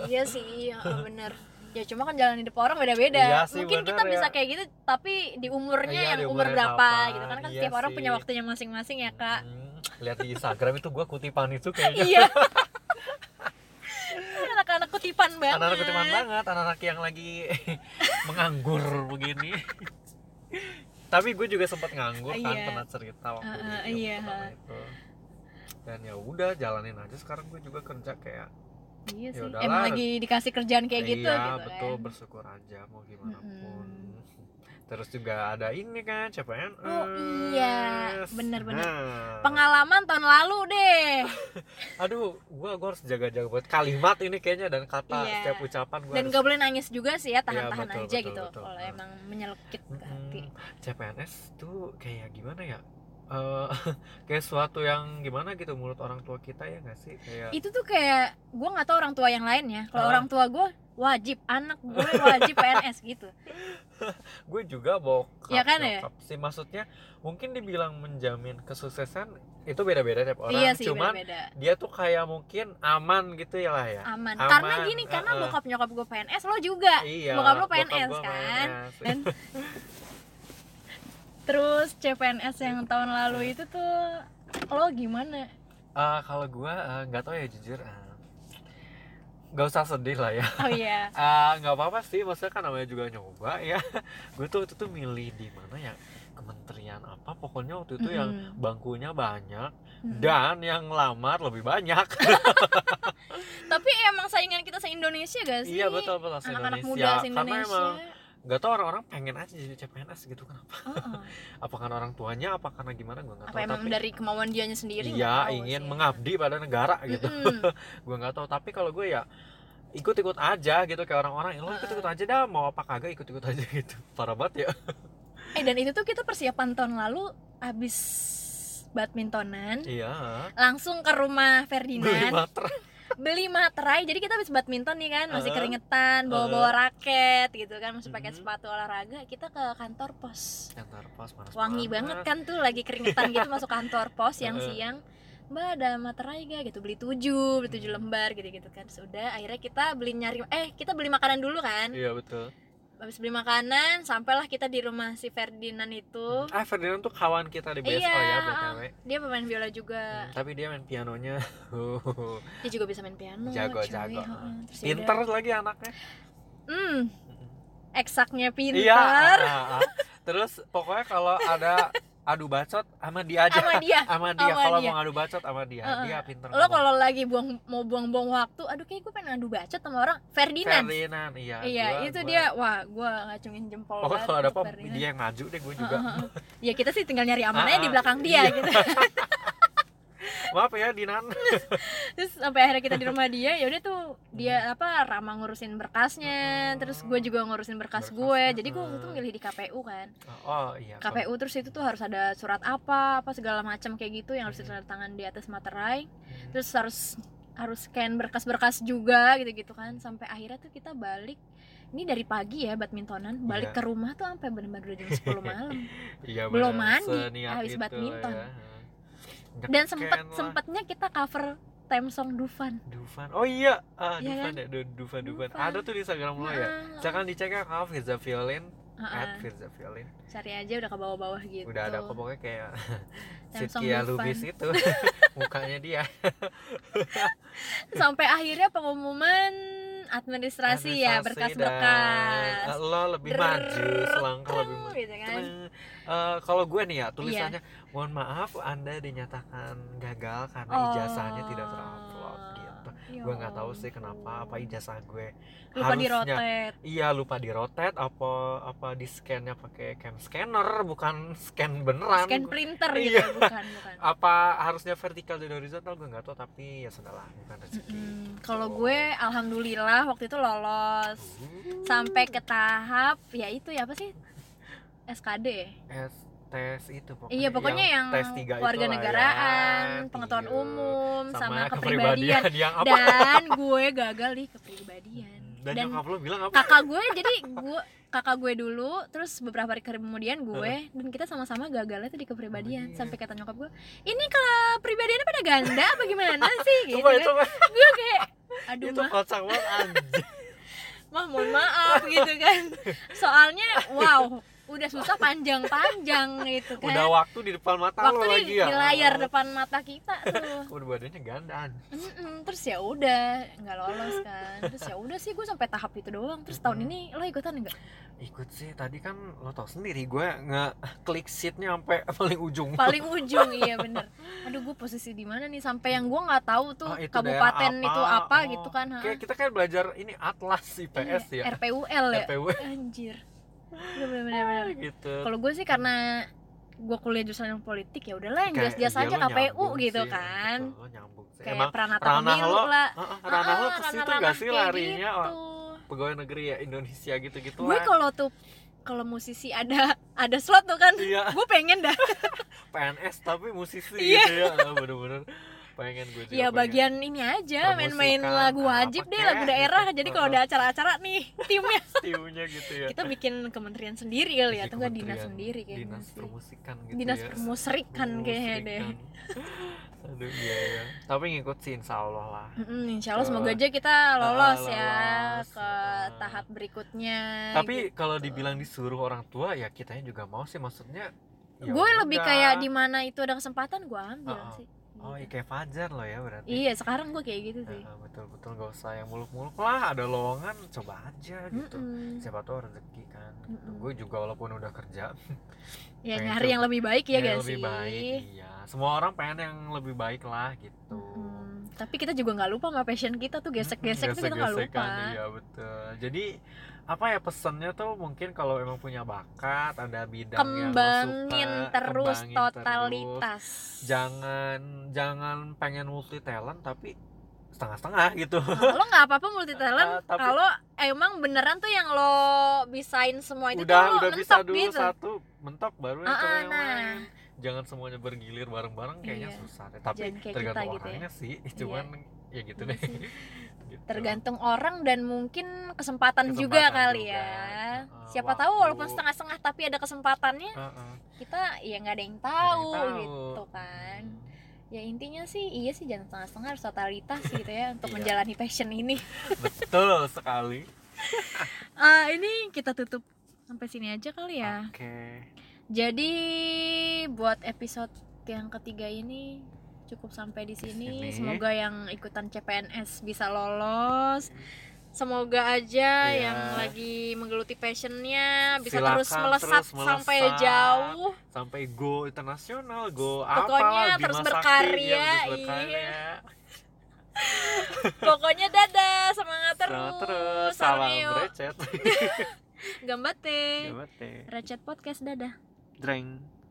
Speaker 2: iya sih ya, bener ya cuma kan jalan hidup orang beda-beda
Speaker 1: Iya sih,
Speaker 2: mungkin
Speaker 1: bener
Speaker 2: kita
Speaker 1: ya.
Speaker 2: bisa kayak gitu tapi di umurnya
Speaker 1: Iya,
Speaker 2: yang
Speaker 1: di
Speaker 2: umur
Speaker 1: umurnya
Speaker 2: berapa
Speaker 1: kapan.
Speaker 2: gitu kan kan
Speaker 1: Iya
Speaker 2: setiap orang
Speaker 1: sih.
Speaker 2: punya waktunya masing-masing ya kak
Speaker 1: Hmm, lihat di Instagram itu gue kutipan itu kayaknya.
Speaker 2: iya anak-anak kutipan banget
Speaker 1: anak-anak kutipan banget, anak-anak yang lagi menganggur begini. Tapi gue juga sempat nganggur kan,
Speaker 2: Iya.
Speaker 1: pernah cerita waktu
Speaker 2: Heeh,
Speaker 1: di
Speaker 2: iya.
Speaker 1: pertama itu. Dan ya udah jalanin aja sekarang gue juga kerja kayak
Speaker 2: iya sih
Speaker 1: Yaudahlah.
Speaker 2: emang lagi dikasih kerjaan kayak gitu
Speaker 1: Ya iya,
Speaker 2: gitu
Speaker 1: betul
Speaker 2: kan
Speaker 1: bersyukur aja mau gimana
Speaker 2: Mm-mm.
Speaker 1: pun. Terus juga ada ini kan CPNS.
Speaker 2: Oh, iya. Bener-bener.
Speaker 1: Nah.
Speaker 2: pengalaman tahun lalu deh
Speaker 1: Aduh, gua gua harus jaga-jaga buat kalimat ini kayaknya dan kata
Speaker 2: Iya.
Speaker 1: setiap ucapan gua
Speaker 2: dan
Speaker 1: harus
Speaker 2: gak boleh nangis juga sih ya tahan-tahan
Speaker 1: Iya, betul,
Speaker 2: aja
Speaker 1: betul,
Speaker 2: gitu
Speaker 1: betul.
Speaker 2: kalau
Speaker 1: Ah.
Speaker 2: emang menyelekit ke hati
Speaker 1: Mm, CPNS tuh kayak gimana ya? Eh, kayak suatu yang gimana gitu menurut orang tua kita ya nggak sih kayak
Speaker 2: itu tuh kayak gue nggak tahu orang tua yang lain ya kalau
Speaker 1: Ah.
Speaker 2: orang tua gue wajib anak gue wajib PNS gitu
Speaker 1: gue juga bokap
Speaker 2: Iya kan ya?
Speaker 1: nyokap sih maksudnya mungkin dibilang menjamin kesuksesan itu beda-beda tiap orang
Speaker 2: iya sih
Speaker 1: cuman
Speaker 2: beda-beda
Speaker 1: dia tuh kayak mungkin aman gitu ya lah ya
Speaker 2: aman.
Speaker 1: Aman,
Speaker 2: karena gini karena
Speaker 1: ah-ah.
Speaker 2: bokap nyokap gue PNS lo juga
Speaker 1: iya
Speaker 2: Ah, bokap lu PNS
Speaker 1: gua
Speaker 2: kan?
Speaker 1: PNS.
Speaker 2: Dan- terus CPNS yang tahun lalu itu tuh lo gimana
Speaker 1: Eh, kalau gue nggak tahu ya jujur eh, nggak usah sedih lah ya
Speaker 2: oh iya
Speaker 1: Ah, nggak apa-apa sih maksudnya kan namanya juga nyoba ya gue tuh waktu itu milih di mana ya kementerian apa pokoknya waktu itu yang
Speaker 2: Mm-mm.
Speaker 1: bangkunya banyak
Speaker 2: Mm-mm.
Speaker 1: dan yang lamar lebih banyak
Speaker 2: tapi emang saingan kita se Indonesia gak sih
Speaker 1: iya betul betul se
Speaker 2: anak-anak muda
Speaker 1: Indonesia
Speaker 2: se
Speaker 1: karena
Speaker 2: Indonesia
Speaker 1: emang nggak tau orang-orang pengen aja jadi CPNS gitu kenapa
Speaker 2: Heeh.
Speaker 1: apa karena orang tuanya apa karena gimana gue nggak
Speaker 2: apa
Speaker 1: tahu
Speaker 2: emang
Speaker 1: tapi
Speaker 2: dari kemauan dianya sendiri nggak
Speaker 1: iya
Speaker 2: tahu
Speaker 1: ingin
Speaker 2: sih.
Speaker 1: mengabdi pada negara gitu
Speaker 2: Mm-mm.
Speaker 1: gue nggak tahu tapi kalau gue ya ikut-ikut aja gitu kayak orang-orang "Eh, lo ikut-ikut
Speaker 2: Ah.
Speaker 1: aja dah mau apa kagak ikut-ikut aja gitu parah banget ya
Speaker 2: eh dan itu tuh kita persiapan tahun lalu abis badmintonan
Speaker 1: iya
Speaker 2: langsung ke rumah
Speaker 1: beli
Speaker 2: Ferdinand
Speaker 1: materai
Speaker 2: beli materai jadi kita habis badminton nih kan masih
Speaker 1: Uh-uh.
Speaker 2: keringetan bawa bawa raket gitu kan masih pakai
Speaker 1: Mhm.
Speaker 2: sepatu olahraga kita ke kantor pos
Speaker 1: Kantor pos panas
Speaker 2: wangi banget kan tuh lagi keringetan gitu masuk kantor pos yang
Speaker 1: Uh-uh.
Speaker 2: siang mbak ada materai gak gitu beli tujuh beli tujuh
Speaker 1: Hmm.
Speaker 2: lembar gitu gitu kan sudah akhirnya kita beli nyari eh kita beli makanan dulu kan
Speaker 1: iya betul
Speaker 2: habis beli makanan sampailah kita di rumah si Ferdinand itu
Speaker 1: ah Ferdinand tuh kawan kita di BSO
Speaker 2: Iya.
Speaker 1: ya btw
Speaker 2: dia pemain viola juga
Speaker 1: Hmm, tapi dia main pianonya
Speaker 2: dia juga bisa main piano
Speaker 1: Jago,
Speaker 2: cuy.
Speaker 1: jago.
Speaker 2: Heeh. Terus ya
Speaker 1: pinter
Speaker 2: udah.
Speaker 1: lagi anaknya
Speaker 2: hmm eksaknya pinter
Speaker 1: iya ah, ah, ah. terus pokoknya kalau ada adu bacot sama dia aja
Speaker 2: sama dia
Speaker 1: sama dia
Speaker 2: Sama
Speaker 1: kalau
Speaker 2: dia.
Speaker 1: mau adu bacot sama dia
Speaker 2: Heeh.
Speaker 1: dia pinter
Speaker 2: lo
Speaker 1: ngomong.
Speaker 2: kalau lagi buang mau buang-buang waktu aduh kayak gue pengen adu bacot sama orang Ferdinand
Speaker 1: Ferdinand iya
Speaker 2: iya
Speaker 1: gua-
Speaker 2: itu
Speaker 1: gua-
Speaker 2: dia wah gue ngacungin jempol
Speaker 1: pokoknya
Speaker 2: banget
Speaker 1: kalau ada
Speaker 2: untuk
Speaker 1: apa
Speaker 2: Ferdinand.
Speaker 1: dia yang maju deh gue
Speaker 2: Heeh,
Speaker 1: juga
Speaker 2: heeh. ya kita sih tinggal nyari amannya
Speaker 1: Ah,
Speaker 2: di belakang dia
Speaker 1: iya.
Speaker 2: gitu
Speaker 1: maaf ya Dinan
Speaker 2: terus sampai akhirnya kita di rumah dia ya udah tuh dia apa Rama ngurusin berkasnya
Speaker 1: Hmm.
Speaker 2: terus gue juga ngurusin berkas,
Speaker 1: Berkas, hmm.
Speaker 2: gue jadi gue waktu itu
Speaker 1: heeh.
Speaker 2: milih di KPU kan
Speaker 1: oh iya
Speaker 2: KPU terus itu tuh harus ada surat apa apa segala macam kayak gitu yang harus
Speaker 1: Hmm.
Speaker 2: ditandatangani di atas materai
Speaker 1: Hmm.
Speaker 2: terus harus harus scan berkas-berkas juga gitu-gitu kan sampai akhirnya tuh kita balik ini dari pagi ya badmintonan balik
Speaker 1: Iya.
Speaker 2: ke rumah tuh sampai benar-benar udah jam 10 malam
Speaker 1: Iya,
Speaker 2: belum
Speaker 1: bener.
Speaker 2: mandi,
Speaker 1: Seniat
Speaker 2: habis
Speaker 1: itu
Speaker 2: badminton.
Speaker 1: ya. Heeh.
Speaker 2: dan
Speaker 1: Neken
Speaker 2: sempet
Speaker 1: lah.
Speaker 2: sempetnya kita cover theme song Dufan
Speaker 1: Dufan. Oh iya, ah,
Speaker 2: Iya
Speaker 1: Dufan ya, Du- Dufan Dufan.
Speaker 2: Dufan.
Speaker 1: Ada tuh di Instagram lo ya.
Speaker 2: Heeh,
Speaker 1: Jangan dicek ya kalau Firza Violin,
Speaker 2: heeh.
Speaker 1: at Firza Violin.
Speaker 2: ah, cari aja udah ke bawah-bawah gitu
Speaker 1: Udah ada kok pokoknya kayak
Speaker 2: Samsung
Speaker 1: Sitkia
Speaker 2: Dufan.
Speaker 1: Lubis itu mukanya dia.
Speaker 2: sampai akhirnya pengumuman administrasi, ya
Speaker 1: Administrasi
Speaker 2: berkas-berkas
Speaker 1: dan, eh, Lo lebih
Speaker 2: Drrrr,
Speaker 1: maju, selangkah lebih maju.
Speaker 2: gitu kan Iya.
Speaker 1: Tenang. eh, kalau gue nih ya tulisannya mohon maaf anda dinyatakan gagal
Speaker 2: Oh.
Speaker 1: karena ijazahnya tidak terupload gitu gue nggak tahu sih kenapa apa ijazah gue
Speaker 2: Ya lupa di
Speaker 1: harusnya
Speaker 2: rotet
Speaker 1: iya lupa di rotate apa apa di scannya pakai cam scanner bukan scan beneran
Speaker 2: scan printer
Speaker 1: Iya.
Speaker 2: gitu bukan bukan
Speaker 1: apa harusnya vertikal dan horizontal gue nggak tahu tapi ya sudahlah bukan rezeki gitu.
Speaker 2: Mm-mm. kalau gue alhamdulillah waktu itu lolos
Speaker 1: Uh,
Speaker 2: sampai ke tahap ya itu ya apa sih SKD
Speaker 1: tes tes itu pokoknya
Speaker 2: iya pokoknya yang,
Speaker 1: tes tiga itu
Speaker 2: warga
Speaker 1: lah ya.
Speaker 2: negaraan pengetahuan
Speaker 1: Iya.
Speaker 2: umum sama,
Speaker 1: kepribadian,
Speaker 2: kepribadian
Speaker 1: yang apa
Speaker 2: dan gue gagal di kepribadian
Speaker 1: dan,
Speaker 2: dan
Speaker 1: nyokap lu bilang apa
Speaker 2: kakak gue jadi gue kakak gue dulu terus beberapa hari kemudian gue dan kita sama-sama gagalnya tuh di kepribadian
Speaker 1: Oh, iya.
Speaker 2: sampai kata nyokap gue ini kalau pribadiannya pada ganda apa gimana sih gitu
Speaker 1: coba
Speaker 2: kan.
Speaker 1: coba
Speaker 2: gue kayak aduh
Speaker 1: itu
Speaker 2: mah
Speaker 1: kocak banget anjing
Speaker 2: mah mohon maaf gitu kan soalnya wow udah susah panjang-panjang gitu kan
Speaker 1: udah waktu di depan mata lu
Speaker 2: waktu
Speaker 1: lagi
Speaker 2: di,
Speaker 1: ya
Speaker 2: di layar depan mata kita tuh
Speaker 1: badannya gandaan
Speaker 2: Mm-mm, terus ya udah nggak lolos kan terus ya udah sih gue sampai tahap itu doang terus tahun ini lo ikutan nggak
Speaker 1: ikut sih tadi kan lo tau sendiri gue nge klik sheetnya sampai paling ujung
Speaker 2: paling ujung iya bener aduh gue posisi di mana nih sampai yang gue nggak tahu tuh
Speaker 1: Ah, itu
Speaker 2: kabupaten
Speaker 1: daerah
Speaker 2: itu apa
Speaker 1: Oh.
Speaker 2: gitu kan ha.
Speaker 1: Kayak kita kan belajar ini atlas IPS
Speaker 2: Iya,
Speaker 1: ya
Speaker 2: RPUL ya
Speaker 1: RPW
Speaker 2: anjir bener-bener
Speaker 1: gitu
Speaker 2: kalau gue sih karena gue kuliah jurusan ilmu politik ya udahlah yang
Speaker 1: Kayak
Speaker 2: jelas-jelas
Speaker 1: iya,
Speaker 2: aja
Speaker 1: lo
Speaker 2: KPU
Speaker 1: nyambung
Speaker 2: gitu
Speaker 1: sih,
Speaker 2: kan
Speaker 1: betul, lo nyambung sih.
Speaker 2: kayak
Speaker 1: emang
Speaker 2: pranata
Speaker 1: ranah
Speaker 2: pemilu
Speaker 1: lo
Speaker 2: lah
Speaker 1: uh, uh, ranah lo
Speaker 2: Ah,
Speaker 1: ke situ
Speaker 2: ranah-ranah
Speaker 1: gak sih
Speaker 2: kayak
Speaker 1: larinya
Speaker 2: gitu.
Speaker 1: orang pegawai negeri ya Indonesia gitu gitu
Speaker 2: gue kalau tuh kalau musisi ada ada slot tuh kan
Speaker 1: iya
Speaker 2: gue pengen dah
Speaker 1: PNS tapi musisi
Speaker 2: Iya.
Speaker 1: gitu ya Ah, bener-bener pengen gue juga
Speaker 2: ya
Speaker 1: pengen.
Speaker 2: bagian ini aja main-main
Speaker 1: Permusikan,
Speaker 2: lagu
Speaker 1: apa
Speaker 2: wajib deh
Speaker 1: kek,
Speaker 2: lagu daerah
Speaker 1: ah, gitu.
Speaker 2: jadi kalau ada acara-acara nih timnya
Speaker 1: tiunya gitu ya
Speaker 2: kita bikin kementerian sendiri kali ya
Speaker 1: Jadi
Speaker 2: atau nggak dinas
Speaker 1: kementerian,
Speaker 2: sendiri kayaknya
Speaker 1: dinas
Speaker 2: sih.
Speaker 1: permusikan gitu
Speaker 2: dinas
Speaker 1: ya. kan.
Speaker 2: permusrikan Kan kayaknya deh
Speaker 1: Permusrikan. aduh iya ya tapi ngikut sih insya Allah lah
Speaker 2: Mm-mm, insya Allah
Speaker 1: Ke- Ah,
Speaker 2: semoga aja kita lolos ya
Speaker 1: lolos,
Speaker 2: ke
Speaker 1: ah.
Speaker 2: tahap berikutnya
Speaker 1: tapi
Speaker 2: gitu.
Speaker 1: kalau dibilang disuruh orang tua ya kitanya juga mau sih maksudnya ya
Speaker 2: gitu. gue lebih
Speaker 1: udah.
Speaker 2: kayak di mana itu ada kesempatan gue ambil
Speaker 1: Ah, ah.
Speaker 2: sih
Speaker 1: oh iya
Speaker 2: Gitu.
Speaker 1: kayak Fajar loh ya berarti
Speaker 2: iya sekarang gue kayak gitu sih
Speaker 1: Ya, betul-betul gak usah yang muluk-muluk lah ada lowongan coba aja gitu
Speaker 2: Mm-mm.
Speaker 1: siapa tahu rezeki kan gitu.
Speaker 2: Mm-mm.
Speaker 1: gue juga walaupun udah kerja
Speaker 2: ya
Speaker 1: pengen
Speaker 2: nyari
Speaker 1: coba.
Speaker 2: yang lebih baik ya
Speaker 1: pengen
Speaker 2: guys
Speaker 1: lebih baik iya semua orang pengen yang lebih baik lah gitu
Speaker 2: Mm-mm. tapi kita juga nggak lupa sama passion kita tuh gesek-gesek tuh kita nggak lupa
Speaker 1: Gesek-gesekan, iya betul jadi apa ya pesannya tuh mungkin kalau emang punya bakat ada bidang yang lo
Speaker 2: kembangin
Speaker 1: suka,
Speaker 2: terus
Speaker 1: kembangin terus.
Speaker 2: totalitas
Speaker 1: jangan jangan pengen multi talent tapi setengah-setengah gitu
Speaker 2: Nah, lo nggak apa-apa multi
Speaker 1: Ah,
Speaker 2: talent
Speaker 1: tapi-
Speaker 2: kalau emang beneran tuh yang lo bisain semua itu
Speaker 1: udah
Speaker 2: tuh lo
Speaker 1: udah
Speaker 2: mentok
Speaker 1: bisa dulu
Speaker 2: gitu
Speaker 1: satu mentok baru ya
Speaker 2: Ah,
Speaker 1: coba
Speaker 2: ah,
Speaker 1: yang
Speaker 2: nah.
Speaker 1: lain jangan semuanya bergilir bareng-bareng kayaknya
Speaker 2: Iya.
Speaker 1: susah deh tapi
Speaker 2: Jangan kayak kita
Speaker 1: tergantung
Speaker 2: gitu ya.
Speaker 1: orangnya sih cuman ya gitu
Speaker 2: Iya
Speaker 1: deh
Speaker 2: sih.
Speaker 1: Gitu.
Speaker 2: tergantung orang dan mungkin kesempatan,
Speaker 1: Kesempatan
Speaker 2: juga kali
Speaker 1: juga.
Speaker 2: ya
Speaker 1: Heeh,
Speaker 2: siapa tahu
Speaker 1: waktu.
Speaker 2: walaupun setengah-setengah tapi ada kesempatannya
Speaker 1: Heeh,
Speaker 2: kita ya nggak ada yang
Speaker 1: nggak ada yang
Speaker 2: tahu,
Speaker 1: tahu.
Speaker 2: gitu kan
Speaker 1: Hmm.
Speaker 2: ya intinya sih iya sih jangan setengah-setengah harus totalitas gitu ya untuk
Speaker 1: Iya.
Speaker 2: menjalani passion ini
Speaker 1: betul sekali
Speaker 2: Ah, ini kita tutup sampai sini aja kali ya
Speaker 1: oke
Speaker 2: Jadi buat episode yang ketiga ini cukup sampai di sini.
Speaker 1: sini.
Speaker 2: Semoga yang ikutan CPNS bisa lolos. Semoga aja
Speaker 1: Iya.
Speaker 2: yang lagi menggeluti passionnya bisa
Speaker 1: Silakan
Speaker 2: terus melesat,
Speaker 1: terus melesat.
Speaker 2: sampai jauh.
Speaker 1: sampai go internasional go
Speaker 2: Pokoknya
Speaker 1: apalah,
Speaker 2: terus
Speaker 1: Bima Sakti,
Speaker 2: berkarya,
Speaker 1: iya, terus
Speaker 2: iya.
Speaker 1: berkarya.
Speaker 2: Pokoknya dadah, semangat
Speaker 1: Selamat
Speaker 2: terus.
Speaker 1: terus salam
Speaker 2: Sarmeo.
Speaker 1: brecet
Speaker 2: Gambate.
Speaker 1: Gamate.
Speaker 2: Recet podcast dadah.
Speaker 1: dreng